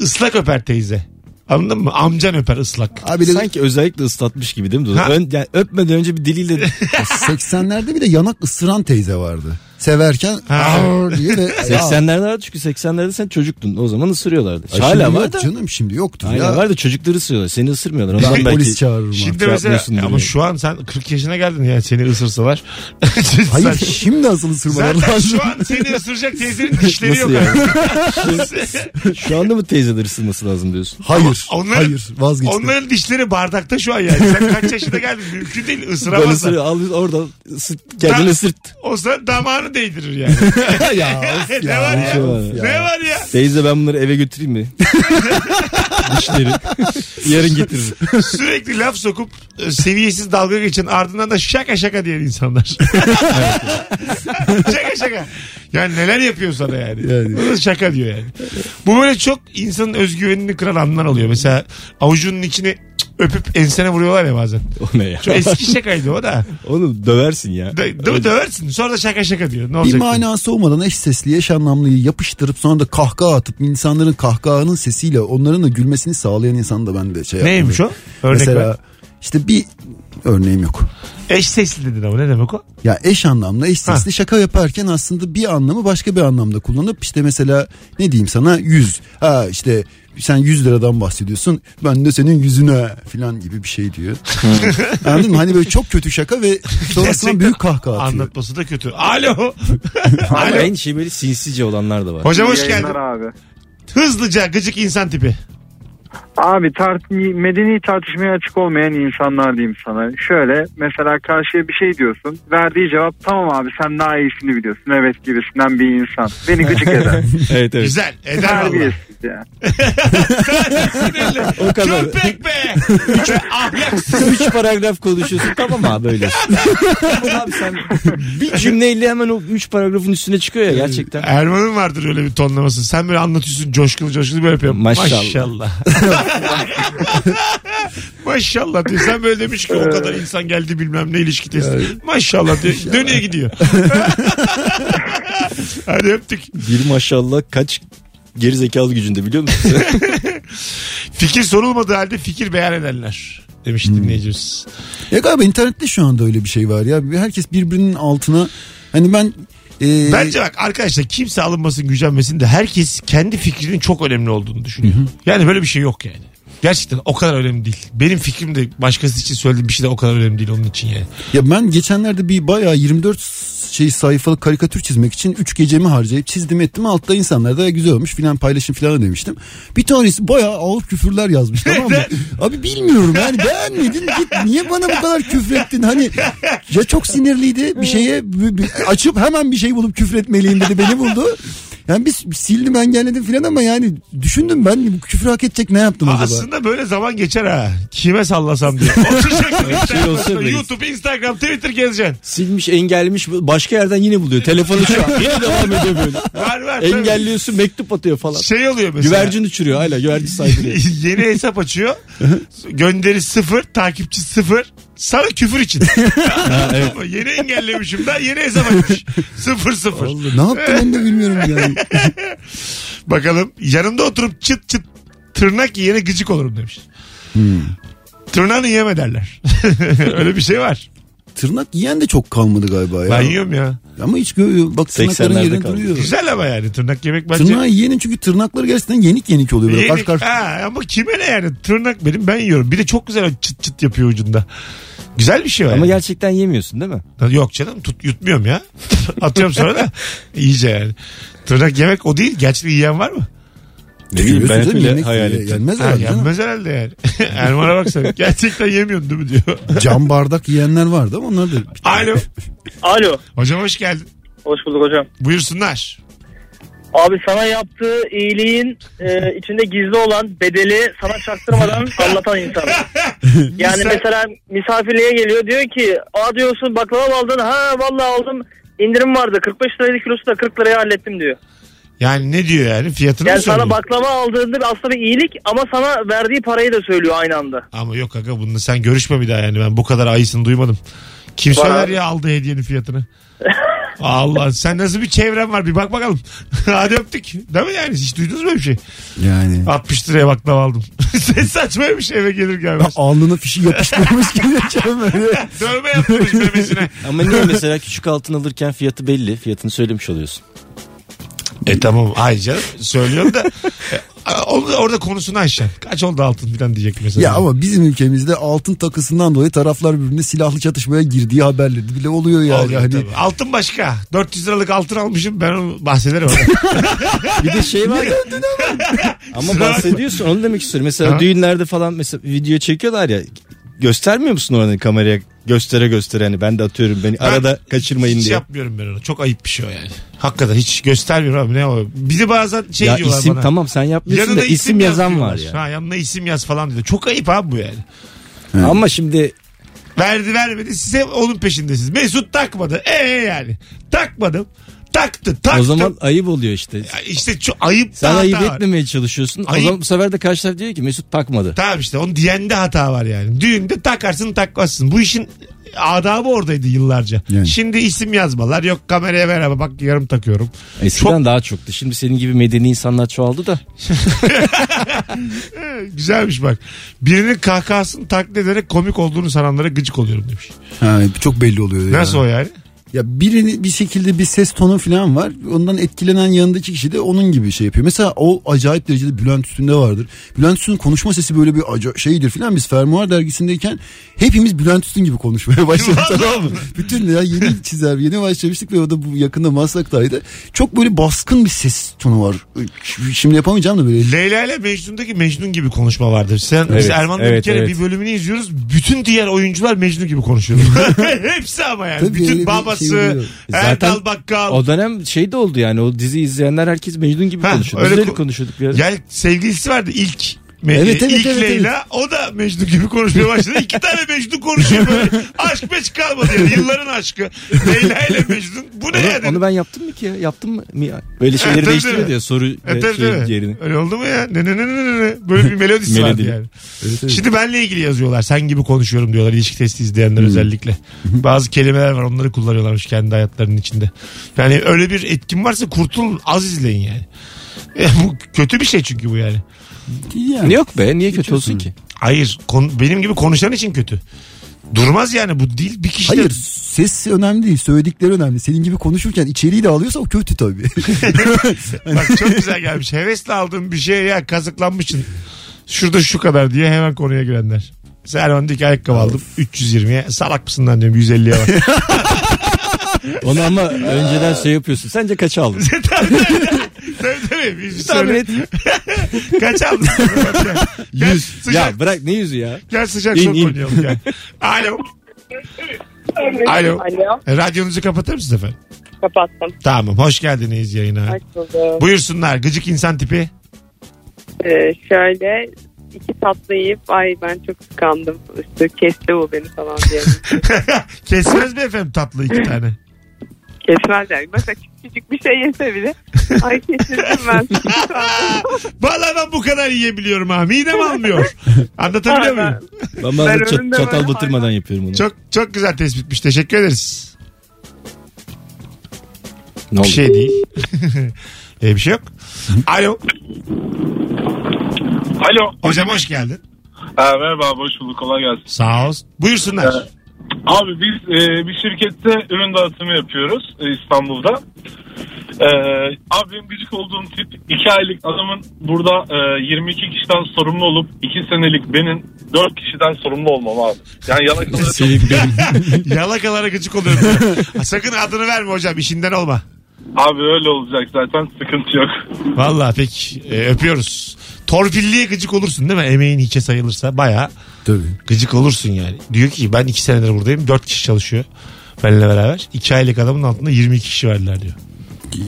Speaker 2: ıslak öper teyze. Anladın mı? Amcan öper ıslak.
Speaker 3: Abi de
Speaker 4: Sanki özellikle ıslatmış gibi değil mi? Dudu?
Speaker 2: Ha.
Speaker 4: Ön, yani öpmeden önce bir diliyle
Speaker 3: 80'lerde bir de yanak ısıran teyze vardı. severken
Speaker 2: Ha.
Speaker 3: "Arr" diye ve
Speaker 4: 80'lerde vardı çünkü 80'lerde sen çocuktun. O zaman ısırıyorlardı.
Speaker 3: Ay, şimdi
Speaker 4: Hala var
Speaker 3: yok
Speaker 4: da.
Speaker 3: canım şimdi yoktur
Speaker 4: Aynen
Speaker 3: ya.
Speaker 4: var da çocukları ısırıyorlar. Seni ısırmıyorlar. Ondan
Speaker 3: Ben
Speaker 4: belki...
Speaker 3: polis çağırırım. artık.
Speaker 2: Şimdi
Speaker 4: şey
Speaker 2: mesela
Speaker 4: yapmıyorsun
Speaker 2: ama
Speaker 4: diye.
Speaker 2: şu an sen 40 yaşına geldin yani seni ısırsalar. Sen-
Speaker 3: Hayır şimdi asıl ısırmalar
Speaker 2: Zaten
Speaker 3: lazım.
Speaker 2: şu an seni ısıracak teyzenin dişleri yok.
Speaker 4: Nasıl yani?
Speaker 2: abi.
Speaker 4: Şu anda mı teyzeler ısırması lazım diyorsun?
Speaker 3: Hayır.
Speaker 2: Ama onların-
Speaker 3: hayır vazgeçtim.
Speaker 2: Onların dişleri bardakta şu an yani. Sen kaç yaşına geldin mümkün değil
Speaker 4: Böyle
Speaker 2: ısıramazlar.
Speaker 4: ısır, al orada ısırt, kendini
Speaker 2: Da-
Speaker 4: ısırt.
Speaker 2: O zaman damağını değdirir yani.
Speaker 3: ya, of
Speaker 2: ne var ya?
Speaker 4: şey var ya.
Speaker 2: Ne var ya?
Speaker 4: Teyze ben bunları eve götüreyim mi? Dişleri. Yarın getiririm.
Speaker 2: Sürekli laf sokup e, seviyesiz dalga geçen ardından da şaka şaka diyen insanlar. şaka şaka. Yani neler yapıyor sana yani.
Speaker 3: Yani.
Speaker 2: Bu da şaka diyor yani. Bu böyle çok insanın özgüvenini kıran anlar oluyor. Mesela avucunun içini öpüp ensene vuruyorlar ya bazen.
Speaker 4: O ne ya?
Speaker 2: Çok eski şakaydı o da.
Speaker 4: Onu döversin ya.
Speaker 2: Dö- dö- döversin. Sonra da şaka şaka diyor. Ne
Speaker 3: Bir
Speaker 2: olacak?
Speaker 3: manası olmadan eş sesli eş anlamlıyı yapıştırıp sonra da kahkaha atıp insanların kahkahanın sesiyle onların da gülmesini sağlayan insan da ben de şey yapmıyorum.
Speaker 2: Neymiş o? Örnek
Speaker 3: Mesela
Speaker 2: ver.
Speaker 3: işte bir örneğim yok.
Speaker 2: Eş sesli dedin ama ne demek o?
Speaker 3: Ya eş anlamlı eş sesli şaka yaparken aslında bir anlamı başka bir anlamda kullanıp işte mesela ne diyeyim sana 100. Ha işte sen 100 liradan bahsediyorsun ben de senin yüzüne falan gibi bir şey diyor. Anladın mı? Hani böyle çok kötü şaka ve sonrasında
Speaker 2: Gerçekten
Speaker 3: büyük kahkaha atıyor.
Speaker 2: Anlatması da kötü. Alo.
Speaker 4: Ama
Speaker 2: Alo.
Speaker 4: en şey böyle sinsice olanlar da var.
Speaker 2: Hocam hoş
Speaker 9: Yayınlar
Speaker 2: geldin.
Speaker 9: abi.
Speaker 2: Hızlıca gıcık insan tipi.
Speaker 9: Abi tart medeni tartışmaya açık olmayan insanlar diyeyim sana. Şöyle mesela karşıya bir şey diyorsun. Verdiği cevap tamam abi sen daha iyisini biliyorsun. Evet gibisinden bir insan. Beni gıcık eder.
Speaker 4: Evet evet.
Speaker 2: Güzel. Eder valla.
Speaker 9: Terbiyesiz ya.
Speaker 4: O kadar.
Speaker 2: Köpek be. Üç ahlaksız.
Speaker 4: Üç paragraf konuşuyorsun tamam abi öyle. tamam abi sen bir cümleyle hemen o üç paragrafın üstüne çıkıyor ya gerçekten.
Speaker 2: Erman'ın vardır öyle bir tonlaması. Sen böyle anlatıyorsun coşkulu coşkulu böyle yapıyorsun.
Speaker 4: Maşallah.
Speaker 2: Maşallah. Maşallah diyor. Sen böyle demiş ki o kadar insan geldi bilmem ne ilişki testi. Maşallah diyor. Dönüyor gidiyor. Hadi öptük.
Speaker 4: Bir maşallah kaç geri zekalı gücünde biliyor musun?
Speaker 2: Fikir sorulmadığı halde fikir beyan edenler. Demiş
Speaker 4: Hmm.
Speaker 2: dinleyicimiz.
Speaker 3: Ya galiba internette şu anda öyle bir şey var ya. Bir- Herkes birbirinin altına hani ben e,
Speaker 2: Bence bak arkadaşlar kimse alınmasın gücenmesin de herkes kendi fikrinin çok önemli olduğunu düşünüyor. Yani böyle bir şey yok yani. Gerçekten o kadar önemli değil. Benim fikrim de başkası için söylediğim bir şey de o kadar önemli değil onun için yani.
Speaker 3: ya ben geçenlerde bir bayağı 24 şey sayfalık karikatür çizmek için 3 gecemi harcayıp çizdim ettim altta insanlar da "Ya güzel olmuş filan paylaşın filan demiştim. Bir tanesi bayağı ağır küfürler yazmış tamam mı? Abi bilmiyorum yani beğenmedin git niye bana bu kadar küfrettin hani ya çok sinirliydi bir şeye bir- bir- açıp hemen bir şey bulup küfretmeliyim dedi beni buldu. Yani biz sildim engelledim filan ama yani düşündüm ben bu küfür hak edecek ne yaptım acaba?
Speaker 2: Aslında böyle zaman geçer ha. Kime sallasam diye. Oturacaksın
Speaker 4: olsa
Speaker 2: Instagram'da,
Speaker 4: bile-
Speaker 2: YouTube, Instagram, Twitter gezeceksin.
Speaker 4: Silmiş engellemiş başka yerden yine buluyor. Telefonu şu an yine devam ediyor böyle.
Speaker 2: Var var. tabii.
Speaker 4: Engelliyorsun mektup atıyor falan.
Speaker 2: Şey oluyor mesela.
Speaker 4: Güvercin uçuruyor hala güvercin saydırıyor.
Speaker 2: yeni hesap açıyor. Gönderi sıfır, takipçi sıfır. Sana küfür için. yeni engellemişim ben yeni hesap açmış. Sıfır sıfır.
Speaker 3: Allah, ne yaptım onu da bilmiyorum yani.
Speaker 2: Bakalım yanımda oturup çıt çıt tırnak yiyene gıcık olurum demiş.
Speaker 3: Hmm.
Speaker 2: Tırnağını yeme derler. Öyle bir şey var.
Speaker 3: Tırnak yiyen de çok kalmadı galiba ya.
Speaker 2: Ben yiyorum ya.
Speaker 3: Ama hiç görüyor. Bak tırnakların
Speaker 4: 80'lerde
Speaker 3: yerinde
Speaker 4: kaldı.
Speaker 3: duruyor.
Speaker 2: Güzel ama yani tırnak yemek bence.
Speaker 3: Tırnağı yiyenin çünkü tırnakları gerçekten yenik yenik oluyor. Böyle
Speaker 2: Yenik-
Speaker 3: karşı karşı.
Speaker 2: Ha, ama kime ne yani tırnak benim ben yiyorum. Bir de çok güzel çıt çıt yapıyor ucunda. Güzel bir şey var.
Speaker 4: Ama
Speaker 2: yani.
Speaker 4: gerçekten yemiyorsun değil mi?
Speaker 2: Yok canım tut, yutmuyorum ya. Atıyorum sonra da iyice yani. Tırnak yemek o değil. Gerçekten yiyen var mı?
Speaker 4: Ne bileyim, ben hep
Speaker 3: Biliyorsun değil
Speaker 4: öyle
Speaker 3: mi? Yemek
Speaker 4: hayal
Speaker 3: yiyor.
Speaker 4: ettim.
Speaker 3: Yenmez
Speaker 2: Ha,
Speaker 3: herhalde canım.
Speaker 2: yenmez herhalde yani. Erman'a bak sen. Gerçekten yemiyorsun değil mi diyor.
Speaker 3: Cam bardak yiyenler vardı ama onlar da.
Speaker 2: Alo.
Speaker 7: Alo.
Speaker 2: Hocam hoş geldin.
Speaker 7: Hoş bulduk hocam.
Speaker 2: Buyursunlar.
Speaker 7: Abi sana yaptığı iyiliğin e, içinde gizli olan bedeli sana çaktırmadan anlatan insan. Yani
Speaker 2: Misal-
Speaker 7: mesela misafirliğe geliyor diyor ki aa diyorsun baklava mı aldın ha vallahi aldım indirim vardı 45 liraydı kilosu da 40 liraya hallettim diyor.
Speaker 2: Yani ne diyor yani? Fiyatını
Speaker 7: Yani
Speaker 2: mı söylüyor?
Speaker 7: sana baklava aldığında aslında bir iyilik ama sana verdiği parayı da söylüyor aynı anda.
Speaker 2: Ama yok aga bunu sen görüşme bir daha yani. Ben bu kadar ayısını duymadım. Kim
Speaker 7: Var
Speaker 2: söyler
Speaker 7: abi.
Speaker 2: ya aldı hediyenin fiyatını? Allah sen nasıl bir çevren var bir bak bakalım. Hadi öptük. Değil mi yani? Hiç duydunuz mu öyle bir şey?
Speaker 3: Yani.
Speaker 2: 60 liraya baklava aldım. Sen saçmaymış eve gelir gelmez.
Speaker 3: Alnına fişi yapıştırmış gideceğim öyle.
Speaker 2: Dövme yapmış memesine.
Speaker 4: Ama niye mesela küçük altın alırken fiyatı belli. Fiyatını söylemiş oluyorsun.
Speaker 2: E tamam ay canım söylüyorum da e, orada, orada konusunu açacaksın. Kaç oldu altın falan diyecek mesela.
Speaker 3: Ya ama bizim ülkemizde altın takısından dolayı taraflar birbirine silahlı çatışmaya girdiği haberleri bile oluyor yani.
Speaker 2: Oluyor
Speaker 3: hani,
Speaker 2: tabii. Altın başka. 400 liralık altın almışım ben onu bahsederim.
Speaker 4: Bir de şey var ya. Ama bahsediyorsun onu demek istiyorum. Mesela
Speaker 2: Ha.
Speaker 4: düğünlerde falan mesela video çekiyorlar ya. Göstermiyor musun oranı kameraya göstere göstere hani ben de atıyorum beni arada kaçırmayın
Speaker 2: hiç
Speaker 4: diye.
Speaker 2: yapmıyorum ben onu. Çok ayıp bir şey o yani. Hakikaten hiç göstermiyorum abi ne o. Bir de bazen şey
Speaker 4: ya
Speaker 2: diyorlar
Speaker 4: isim
Speaker 2: bana.
Speaker 4: tamam sen yapmıyorsun da isim,
Speaker 2: yaz
Speaker 4: yazan var
Speaker 2: diyorlar.
Speaker 4: ya.
Speaker 2: Ha, yanına isim yaz falan diyor. Çok ayıp abi bu yani.
Speaker 4: Ama şimdi
Speaker 2: Verdi vermedi size onun peşindesiniz. Mesut takmadı. Ee yani. Takmadım. Taktı taktı.
Speaker 4: o zaman ayıp oluyor işte.
Speaker 2: Ya işte çok ayıp
Speaker 4: Sen
Speaker 2: da
Speaker 4: ayıp
Speaker 2: hata var.
Speaker 4: etmemeye çalışıyorsun.
Speaker 2: Ayıp.
Speaker 4: O zaman bu sefer de karşı taraf diyor ki Mesut takmadı.
Speaker 2: Tamam işte onun diyende hata var yani. Düğünde takarsın takmazsın. Bu işin adabı oradaydı yıllarca.
Speaker 3: Yani.
Speaker 2: Şimdi isim yazmalar. Yok kameraya merhaba bak yarım takıyorum.
Speaker 4: Eskiden daha çoktu. Şimdi senin gibi medeni insanlar çoğaldı da.
Speaker 2: Ee, Güzelmiş bak. Birinin kahkahasını taklit ederek komik olduğunu sananlara gıcık oluyorum demiş.
Speaker 3: Ha, çok belli oluyor.
Speaker 2: Nasıl
Speaker 3: ya.
Speaker 2: o yani?
Speaker 3: Ya birini bir şekilde bir ses tonu falan var. Ondan etkilenen yanındaki kişi de onun gibi şey yapıyor. Mesela o acayip derecede Bülent Üstün'de vardır. Bülent Üstün'ün konuşma sesi böyle bir aca- şeydir falan. Biz Fermuar dergisindeyken hepimiz Bülent Üstün gibi konuşmaya başladık. tamam mı? Bütün ya yeni çizer yeni başlamıştık ve o da bu yakında Maslak'taydı. Çok böyle baskın bir ses tonu var. Şimdi yapamayacağım da böyle.
Speaker 2: Leyla ile Mecnun'daki Mecnun gibi konuşma vardır. Sen biz
Speaker 4: Evet,
Speaker 2: Erman'da bir
Speaker 4: evet,
Speaker 2: kere
Speaker 4: evet.
Speaker 2: bir bölümünü izliyoruz. Bütün diğer oyuncular Mecnun gibi konuşuyor. Hepsi ama yani.
Speaker 3: Tabii öyle
Speaker 2: bütün
Speaker 3: bir
Speaker 2: babası,
Speaker 3: şey oluyor.
Speaker 2: Erdal
Speaker 4: Zaten
Speaker 2: Bakkal.
Speaker 4: O dönem şey de oldu yani o dizi izleyenler herkes Mecnun gibi
Speaker 2: Ha,
Speaker 4: konuşuyordu.
Speaker 2: öyle
Speaker 4: Biz de öyle
Speaker 2: ko-
Speaker 4: konuşuyorduk biraz.
Speaker 2: Yani sevgilisi vardı ilk. Me-
Speaker 3: Evet, evet,
Speaker 2: ilk
Speaker 3: evet,
Speaker 2: Leyla o da Mecnun gibi konuşmaya başladı. İki tane Mecnun konuşuyor böyle. Aşk meç kalmadı yani yılların aşkı. Leyla ile Mecnun bu ne
Speaker 4: onu,
Speaker 2: yani?
Speaker 4: onu ben yaptım mı ki ya? Yaptım mı? mi ya? Böyle
Speaker 2: tabii,
Speaker 4: şeyleri değiştiriyor
Speaker 2: tabii.
Speaker 4: ya soru
Speaker 2: E,
Speaker 4: ve
Speaker 2: tabii,
Speaker 4: şeyin
Speaker 2: tabii.
Speaker 4: yerini.
Speaker 2: Öyle oldu mu ya? Ne ne ne ne ne ne. Böyle bir melodisi vardı
Speaker 4: Melodi.
Speaker 2: yani.
Speaker 3: Evet, evet.
Speaker 2: Şimdi benle ilgili yazıyorlar. Sen gibi konuşuyorum diyorlar ilişki testi izleyenler özellikle. Bazı kelimeler var onları kullanıyorlarmış kendi hayatlarının içinde. Yani öyle bir etkin varsa kurtulun az izleyin yani. E, bu kötü bir şey çünkü bu yani.
Speaker 3: Yani.
Speaker 4: Yok be niye kötü olsun ki?
Speaker 2: Hayır konu- benim gibi konuşan için kötü. Durmaz yani bu değil bir kişi de-
Speaker 3: Hayır ses önemli değil söyledikleri önemli. Senin gibi konuşurken içeriği de alıyorsa o kötü tabii.
Speaker 2: Bak çok güzel gelmiş. Hevesle aldığım bir şeye ya kazıklanmışsın. Şurada şu kadar diye hemen konuya girenler. Servan'daki ayakkabı aldım 320'ye. Salak mısın lan diyorum 150'ye bak.
Speaker 4: Onu ama önceden şey yapıyorsun. Sence kaç aldın?
Speaker 2: Tabii tabii. Bir şey
Speaker 4: Tahmin
Speaker 2: söyle.
Speaker 4: et.
Speaker 2: Kaç aldın? Gel, sıcak,
Speaker 4: Ya bırak ne yüzü ya?
Speaker 2: gel sıcak
Speaker 4: İn,
Speaker 2: son
Speaker 4: in.
Speaker 2: konuyalım gel. Alo. Alo.
Speaker 10: Alo.
Speaker 2: E, Radyonuzu kapatır mısınız efendim?
Speaker 10: Kapattım.
Speaker 2: Tamam. Hoş geldiniz yayına.
Speaker 10: Hoş bulduk.
Speaker 2: Buyursunlar. Gıcık insan tipi.
Speaker 10: Ee, şöyle iki tatlı yiyip ay ben çok sıkandım. İşte kesti bu beni falan diye.
Speaker 2: Kesmez mi efendim tatlı iki tane?
Speaker 10: Kesmez yani. Mesela küçücük bir şey yese bile. Ay kesildim ben.
Speaker 2: Vallahi ben bu kadar yiyebiliyorum ha. Midem almıyor. Anlatabiliyor
Speaker 10: Ben-
Speaker 2: muyum?
Speaker 4: Ben bazen
Speaker 10: Ben
Speaker 4: çat-
Speaker 10: önünde
Speaker 4: çatal
Speaker 10: böyle
Speaker 4: batırmadan yapıyorum onu.
Speaker 2: Çok çok güzel tespitmiş. Teşekkür ederiz.
Speaker 4: ne
Speaker 2: Bir
Speaker 4: oldu?
Speaker 2: şey değil. e, bir şey yok. Alo.
Speaker 5: Alo.
Speaker 2: Hocam hoş geldin.
Speaker 5: Ha, merhaba hoş bulduk kolay gelsin.
Speaker 2: Sağ ol. Buyursunlar.
Speaker 5: Evet. Abi biz e, bir şirkette ürün dağıtımı yapıyoruz e, İstanbul'da. E, abi benim gıcık olduğum tip 2 aylık adamın burada e, 22 kişiden sorumlu olup 2 senelik benim 4 kişiden sorumlu olmam abi. Yani yalakalı
Speaker 4: Senin benim.
Speaker 2: Yalakalara gıcık oluyorum. Ha, Sakın adını verme hocam işinden olma.
Speaker 5: abi öyle olacak zaten sıkıntı yok.
Speaker 2: Vallahi pek e, öpüyoruz. Torpilliye gıcık olursun değil mi? Emeğin hiçe sayılırsa baya
Speaker 3: tabii.
Speaker 2: gıcık olursun yani. Diyor ki ben iki senedir buradayım. Dört kişi çalışıyor benimle beraber. İki aylık adamın altında 22 kişi verdiler diyor.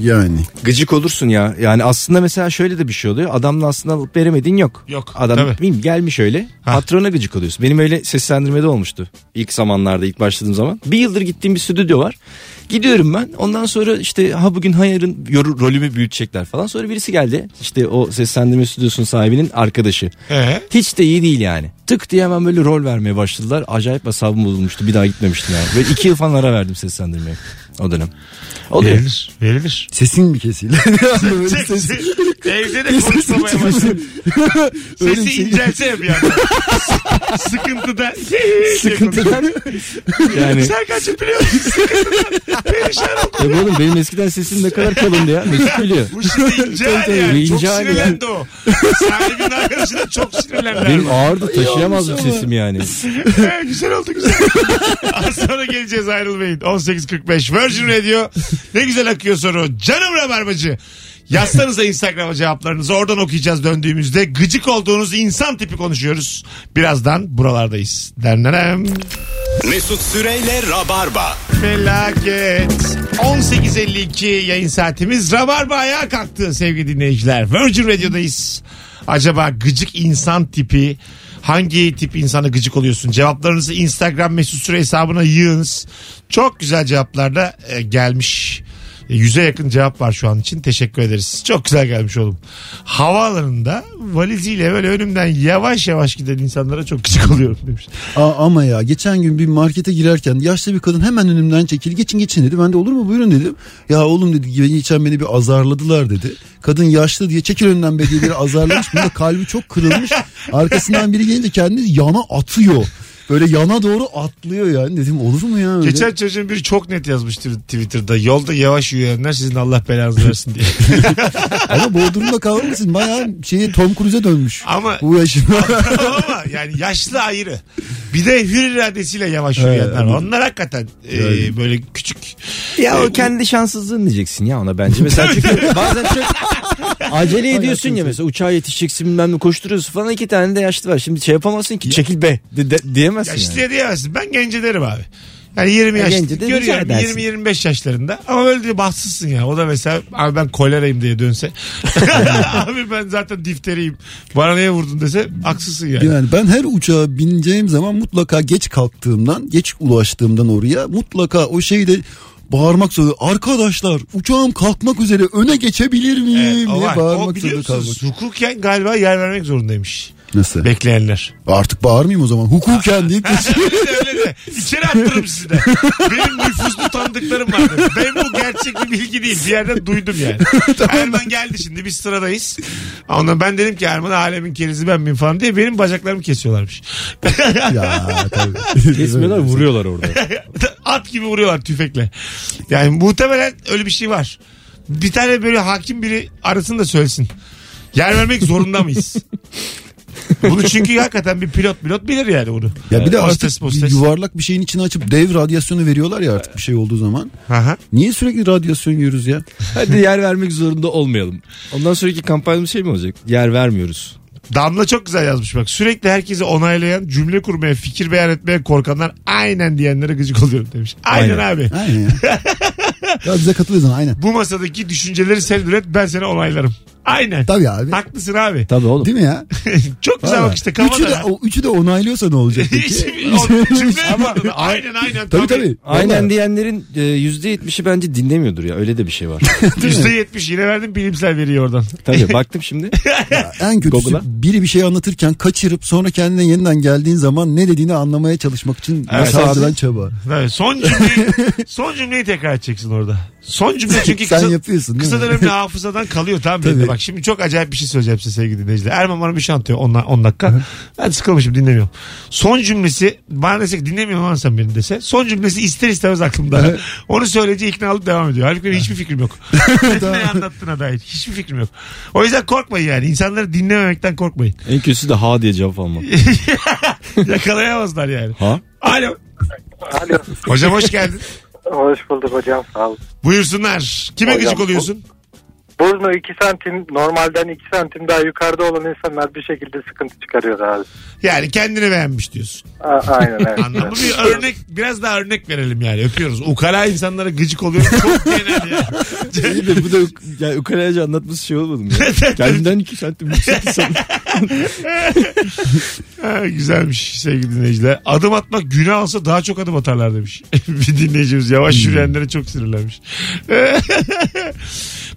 Speaker 3: Yani.
Speaker 4: Gıcık olursun ya. Yani aslında mesela şöyle de bir şey oluyor. Adamla aslında alıp veremediğin yok.
Speaker 2: Yok,
Speaker 4: Adam
Speaker 2: tabii.
Speaker 4: bilmiyorum, gelmiş öyle.
Speaker 2: Ha.
Speaker 4: Patrona gıcık oluyorsun. Benim öyle seslendirmede olmuştu. İlk zamanlarda ilk başladığım zaman. Bir yıldır gittiğim bir stüdyo var. Gidiyorum ben. Ondan sonra işte ha bugün ha yarın yor- rolümü büyütecekler falan. Sonra birisi geldi. İşte o seslendirme stüdyosunun sahibinin arkadaşı.
Speaker 2: Ee?
Speaker 4: Hiç de iyi değil yani. Tık diye hemen böyle rol vermeye başladılar. Acayip asabım bozulmuştu. Bir daha gitmemiştim yani. Böyle iki yıl falan ara verdim seslendirmeye. o dönem. O dönem.
Speaker 2: Verilir. Verilir.
Speaker 3: Sesin mi kesildi? Böyle ses-
Speaker 2: Evde de konuşmamaya başladı.
Speaker 3: Öyle bir
Speaker 2: Sesi
Speaker 3: şey-
Speaker 2: incelse bir anda. Sıkıntıda.
Speaker 4: Sıkıntıdan. yani. e,
Speaker 2: Serkan'cım biliyor musun? Sıkıntıdan Perişan oldum.
Speaker 4: Tabii oğlum benim eskiden sesim ne kadar kalındı ya. Mesut biliyor.
Speaker 2: Bu şimdi ince hal
Speaker 4: Tabii,
Speaker 2: yani.
Speaker 4: tabii.
Speaker 2: çok
Speaker 4: İnce hal
Speaker 2: sinirlendi o. Sahibinin arkadaşına çok sinirlendi.
Speaker 4: Benim
Speaker 2: abi.
Speaker 4: ağırdı taşıyamazdım sesimi yani.
Speaker 2: He, güzel oldu güzel. Az sonra geleceğiz ayrılmayın. 18.45 Virgin Radio. Ne güzel akıyor soru. Canım Rabarbacı. Yazsanıza Instagram'a cevaplarınızı. Oradan okuyacağız döndüğümüzde. Gıcık olduğunuz insan tipi konuşuyoruz. Birazdan buralardayız. Dernenem.
Speaker 1: Mesut Süreyle Rabarba.
Speaker 2: Felaket. 18.52 yayın saatimiz. Rabarba ayağa kalktı sevgili dinleyiciler. Virgin Radio'dayız. Acaba gıcık insan tipi hangi tip insana gıcık oluyorsun? Cevaplarınızı Instagram mesut süre hesabına yığınız. Çok güzel cevaplar da e, gelmiş. E, Yüze yakın cevap var şu an için. Teşekkür ederiz. Çok güzel gelmiş oğlum. Havaalanında valiziyle böyle önümden yavaş yavaş giden insanlara çok gıcık oluyorum demiş.
Speaker 3: Aa, ama ya geçen gün bir markete girerken yaşlı bir kadın hemen önümden çekildi. Geçin geçin dedi. Ben de olur mu buyurun dedim. Ya oğlum dedi geçen beni bir azarladılar dedi. Kadın yaşlı diye çekil önünden be diye biri azarlamış. Bunda kalbi çok kırılmış. Arkasından biri gelince kendini yana atıyor. Böyle yana doğru atlıyor yani. Dedim olur mu ya öyle?
Speaker 2: Geçen çocuğun biri çok net yazmıştır Twitter'da. Yolda yavaş yürüyenler sizin Allah belanızı versin diye.
Speaker 3: Ama Bodrum'da kalmışsın. Bayağı şeye Tom Cruise'e dönmüş.
Speaker 2: Ama-
Speaker 3: Bu yaşında.
Speaker 2: Ama yani yaşlı ayrı. Bir de hür iradesiyle yavaş yürüyenler. var. Onlar hakikaten e, böyle küçük.
Speaker 4: Ya
Speaker 2: Ee,
Speaker 4: o kendi şanssızlığın diyeceksin ya ona bence. Mesela çünkü bazen çok acele ediyorsun ya mesela uçağa yetişeceksin bilmem ne koşturuyorsun falan iki tane de yaşlı var. Şimdi şey yapamazsın ki çekil be de- de- diyemezsin yani.
Speaker 2: Yaşlıya diyemezsin. Ben gence derim abi. Yani 20
Speaker 4: Ya
Speaker 2: yaş
Speaker 4: gence de rica
Speaker 2: görüyorum
Speaker 4: edersin.
Speaker 2: 20-25 yaşlarında ama böyle diye bahtsızsın ya. O da mesela abi ben kolerayım diye dönse. abi ben zaten difteriyim. Bana niye vurdun dese haksızsın yani.
Speaker 3: Yani ben her uçağa bineceğim zaman mutlaka geç kalktığımdan, geç ulaştığımdan oraya mutlaka o şeyde bağırmak zorunda. Arkadaşlar uçağım kalkmak üzere öne geçebilir miyim
Speaker 2: Evet, E, o
Speaker 3: diye
Speaker 2: var. O
Speaker 3: bağırmak
Speaker 2: biliyor
Speaker 3: zorunda kalmak.
Speaker 2: musunuz? Hukuken galiba yer vermek zorundaymış.
Speaker 3: Nasıl?
Speaker 2: Bekleyenler.
Speaker 3: Artık bağırmayayım o zaman. Hukuken şey. deyip geçeyim.
Speaker 2: öyle de öyle de. İçeri attırırım sizi de. Benim nüfuzlu tanıdıklarım var. dedi. Ben bu gerçek bir bilgi değil. Bir yerden duydum yani. Erman geldi şimdi biz sıradayız. Ondan ben dedim ki Erman alemin kerizi ben miyim falan diye benim bacaklarımı kesiyorlarmış.
Speaker 3: ya tabii. şey.
Speaker 4: Kesmiyorlar vuruyorlar orada.
Speaker 2: At gibi vuruyorlar tüfekle. Yani muhtemelen öyle bir şey var. Bir tane böyle hakim biri arasın da söylesin. Yer vermek zorunda mıyız? Bunu çünkü hakikaten bir pilot pilot bilir yani onu.
Speaker 3: Ya bir de
Speaker 2: Hostes,
Speaker 3: artık
Speaker 2: hostes.
Speaker 3: yuvarlak bir şeyin içine açıp dev radyasyonu veriyorlar ya artık bir şey olduğu zaman.
Speaker 2: Aha.
Speaker 3: Niye sürekli radyasyon yiyoruz ya?
Speaker 4: Hadi yer vermek zorunda olmayalım. Ondan sonraki kampanyamız şey mi olacak? Yer vermiyoruz.
Speaker 2: Damla çok güzel yazmış bak. Sürekli herkesi onaylayan, cümle kurmaya, fikir beyan etmeye korkanlar aynen diyenlere gıcık oluyorum demiş. Aynen, abi.
Speaker 3: Aynen ya. ya bize katılıyorsun aynen.
Speaker 2: Bu masadaki düşünceleri sen üret ben seni onaylarım. Aynen.
Speaker 3: Tabii abi.
Speaker 2: Haklısın abi.
Speaker 4: Tabii oğlum.
Speaker 3: Değil mi ya?
Speaker 2: çok güzel
Speaker 3: Vallahi.
Speaker 2: bak işte kafada.
Speaker 3: Üçü de,
Speaker 2: ha.
Speaker 3: o- üçü de onaylıyorsa ne olacak
Speaker 2: Hiç-
Speaker 3: peki?
Speaker 2: o cümle yapmadın. Aynen aynen.
Speaker 3: Tabii tabii.
Speaker 4: Aynen
Speaker 3: Vallahi.
Speaker 4: diyenlerin e, %70'i bence dinlemiyordur ya. Öyle de bir şey var.
Speaker 2: %70 yine verdim bilimsel veriyi oradan.
Speaker 4: Tabii baktım şimdi.
Speaker 3: En kötüsü
Speaker 4: Google'a.
Speaker 3: biri bir şey anlatırken kaçırıp sonra kendine yeniden geldiğin zaman ne dediğini anlamaya çalışmak için
Speaker 2: Evet,
Speaker 3: evet,
Speaker 2: abi.
Speaker 3: çaba.
Speaker 2: Evet, son cümleyi, son cümleyi tekrar edeceksin orada. Son cümle çünkü
Speaker 3: Sen
Speaker 2: kısa,
Speaker 3: yapıyorsun değil
Speaker 2: kısa
Speaker 3: mi?
Speaker 2: dönemli hafızadan kalıyor tamam
Speaker 3: Tabii.
Speaker 2: bende. Bak şimdi çok acayip bir şey söyleyeceğim size sevgili dinleyiciler. Erman bana bir şey anlatıyor 10 dakika. ben sıkılmışım dinlemiyorum. Son cümlesi bana desek dinlemiyorum lan sen beni dese. Son cümlesi ister istemez aklımda. Onu söyleyince ikna olup devam ediyor. Halbuki benim hiçbir fikrim yok. ne anlattığına dair hiçbir fikrim yok. O yüzden korkmayın yani. İnsanları dinlememekten korkmayın.
Speaker 4: En kötüsü de ha diye cevap almam.
Speaker 2: Yakalayamazlar yani.
Speaker 4: Ha?
Speaker 2: Alo.
Speaker 5: Alo.
Speaker 2: Hocam hoş geldin.
Speaker 5: Hoş bulduk hocam sağ olun.
Speaker 2: Buyursunlar. Kime
Speaker 5: Hocam,
Speaker 2: gıcık
Speaker 5: bu-
Speaker 2: oluyorsun?
Speaker 5: Burnu 2 santim normalden 2 santim daha yukarıda olan insanlar bir şekilde sıkıntı çıkarıyor abi.
Speaker 2: Yani kendini beğenmiş diyorsun.
Speaker 5: A- aynen evet.
Speaker 2: Anlamlı bir örnek biraz daha örnek verelim yani. Öpüyoruz. Ukala insanlara gıcık oluyor. Çok genel ya.
Speaker 4: İyi de bu da yani ukalece anlatması şey olmadı mı? ya? Kendimden iki santim yüksek sanırım.
Speaker 2: Ha, güzelmiş sevgili dinleyiciler. Adım atmak günah olsa daha çok adım atarlar demiş. bir dinleyicimiz
Speaker 4: Hmm.
Speaker 2: yavaş yürüyenlere çok sinirlenmiş.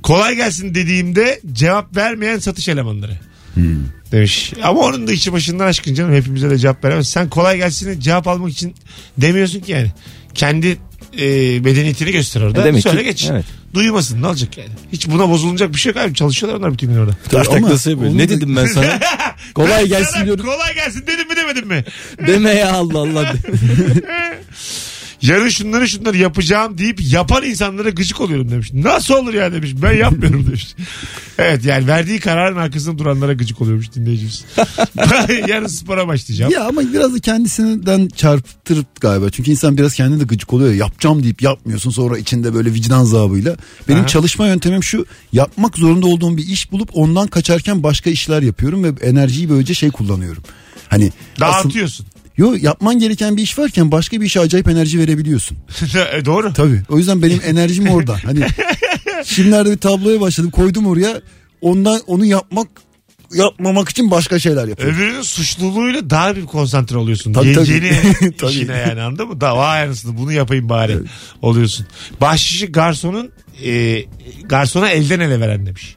Speaker 2: Kolay gelsin dediğimde cevap vermeyen satış elemanları.
Speaker 4: Hmm.
Speaker 2: Demiş. Ama onun da içi başından aşkın canım. Hepimize de cevap veremez. Sen kolay gelsin cevap almak için demiyorsun ki yani. Kendi e, medeniyetini göster orada.
Speaker 4: E demek
Speaker 2: Söyle
Speaker 4: ki-
Speaker 2: geç.
Speaker 4: evet.
Speaker 2: Duymasın ne olacak yani. Hiç buna bozulacak bir şey yok abi. Çalışıyorlar onlar bütün gün orada.
Speaker 4: Tartaklası yapıyor.
Speaker 3: Ama
Speaker 4: Ne
Speaker 3: onun da-
Speaker 4: dedim ben sana? Kolay gelsin
Speaker 2: Sana
Speaker 4: diyorum.
Speaker 2: Kolay gelsin dedim mi demedim mi?
Speaker 4: Deme ya Allah Allah.
Speaker 2: Yarın şunları şunları yapacağım deyip yapan insanlara gıcık oluyorum demiş. Nasıl olur ya demiş. Ben yapmıyorum demiş. Evet yani verdiği kararın arkasında duranlara gıcık oluyormuş dinleyicimiz. Yarın spora başlayacağım.
Speaker 3: Ya ama biraz da kendisinden çarptırıp galiba. Çünkü insan biraz kendine de gıcık oluyor. ya. Yapacağım deyip yapmıyorsun sonra içinde böyle vicdan zabıyla. Benim
Speaker 2: Aha.
Speaker 3: çalışma yöntemim şu. Yapmak zorunda olduğum bir iş bulup ondan kaçarken başka işler yapıyorum ve enerjiyi böylece şey kullanıyorum. Hani asıl-
Speaker 2: Dağıtıyorsun.
Speaker 3: Yo yapman gereken bir iş varken başka bir işe acayip enerji verebiliyorsun.
Speaker 2: E, Doğru.
Speaker 3: Tabii. O yüzden benim enerjim orada. Hani şimdilerde bir tabloya başladım. Koydum oraya. Ondan onu yapmak yapmamak için başka şeyler yapıyorum.
Speaker 2: Öbürünün suçluluğuyla daha bir konsantre oluyorsun.
Speaker 3: Tabii,
Speaker 2: Ye-
Speaker 3: tabii.
Speaker 2: Yeni
Speaker 3: Tabii.
Speaker 2: işine yani anladın mı? Daha vay anasını bunu yapayım bari oluyorsun. Bahşişi garsonun e, garsona elden ele veren demiş.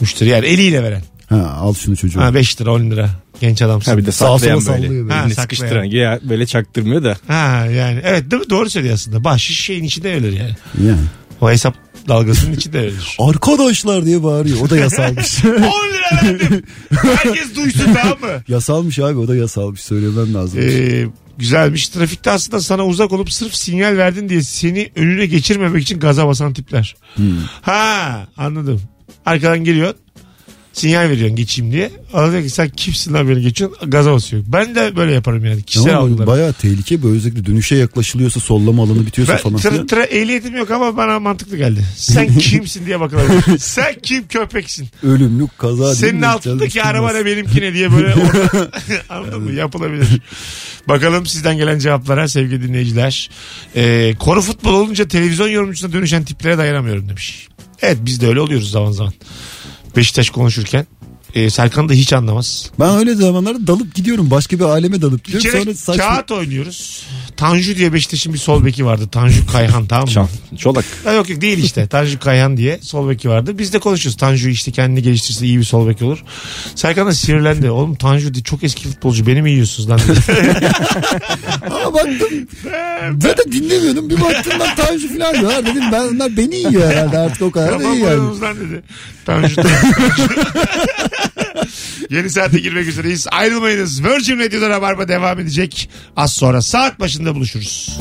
Speaker 2: Müşteri yani eliyle veren.
Speaker 3: Ha al şunu çocuğum.
Speaker 2: Ha 5 lira 10 lira genç adamsın.
Speaker 4: Ha bir de
Speaker 3: Sağa sola
Speaker 4: saklayan böyle.
Speaker 3: sallıyor böyle.
Speaker 2: Ha,
Speaker 4: Elini
Speaker 2: saklayan.
Speaker 4: sıkıştıran. Ya böyle çaktırmıyor da.
Speaker 2: Ha yani evet değil mi? Doğru söylüyor aslında. Bahşiş şeyin içinde ölür yani.
Speaker 3: Yani.
Speaker 2: O hesap dalgasının içinde ölür.
Speaker 3: Arkadaşlar diye bağırıyor. O da yasalmış.
Speaker 2: 10 lira verdim. Herkes duysun tamam mı?
Speaker 3: yasalmış abi o da yasalmış. Söylemem lazım.
Speaker 2: Ee, güzelmiş. Trafikte aslında sana uzak olup sırf sinyal verdin diye seni önüne geçirmemek için gaza basan tipler. Ha anladım. Arkadan geliyor. Sinyal veriyorsun geçeyim diye. Anladın ki sen kimsin lan beni geçiyorsun. Gaza basıyor. Ben de böyle yaparım yani. Kişisel
Speaker 3: Tamam mı?
Speaker 2: şey algılarım.
Speaker 3: Bayağı tehlike böyle özellikle dönüşe yaklaşılıyorsa sollama alanı bitiyorsa
Speaker 2: Ben
Speaker 3: falan.
Speaker 2: tır,
Speaker 3: filan.
Speaker 2: tıra ehliyetim yok ama bana mantıklı geldi. Sen kimsin diye bakalım. Sen kim köpeksin?
Speaker 3: Ölümlük kaza değil
Speaker 2: Senin
Speaker 3: mi?
Speaker 2: altındaki
Speaker 3: Canım
Speaker 2: araba
Speaker 3: sıkılmaz.
Speaker 2: ne benimki ne diye böyle orada- anladın mı? Yapılabilir. Bakalım sizden gelen cevaplara sevgili dinleyiciler. Ee, koru futbol olunca televizyon yorumcusuna dönüşen tiplere dayanamıyorum demiş. Evet biz de öyle oluyoruz zaman zaman. Beşiktaş konuşurken. Ee, Serkan da hiç anlamaz.
Speaker 3: Ben öyle zamanlarda dalıp gidiyorum. Başka bir aleme dalıp
Speaker 2: Bir
Speaker 3: gidiyorum.
Speaker 2: kere
Speaker 3: Sonra saçma.
Speaker 2: kağıt oynuyoruz. Tanju diye Beşiktaş'ın bir sol beki vardı. Tanju Kayhan tamam mı?
Speaker 4: Çal. Çolak.
Speaker 2: Ha, yok yok değil işte. Tanju Kayhan diye sol beki vardı. Biz de konuşuyoruz. Tanju işte kendini geliştirse iyi bir sol bek olur. Serkan da sinirlendi. Oğlum Tanju diye çok eski futbolcu. Beni mi yiyorsunuz lan? dedi.
Speaker 3: Ama baktım. Zaten dinlemiyordum. Bir baktım ben Tanju falan diyor. Ha Dedim ben onlar beni yiyor herhalde artık o kadar da
Speaker 2: Tamam
Speaker 3: iyi yani.
Speaker 2: buyurunuz lan dedi. Tanju. Tanju. Yeni saate girmek üzereyiz. Ayrılmayınız. Virgin Radio'da Rabarba devam edecek. Az sonra saat başında buluşuruz.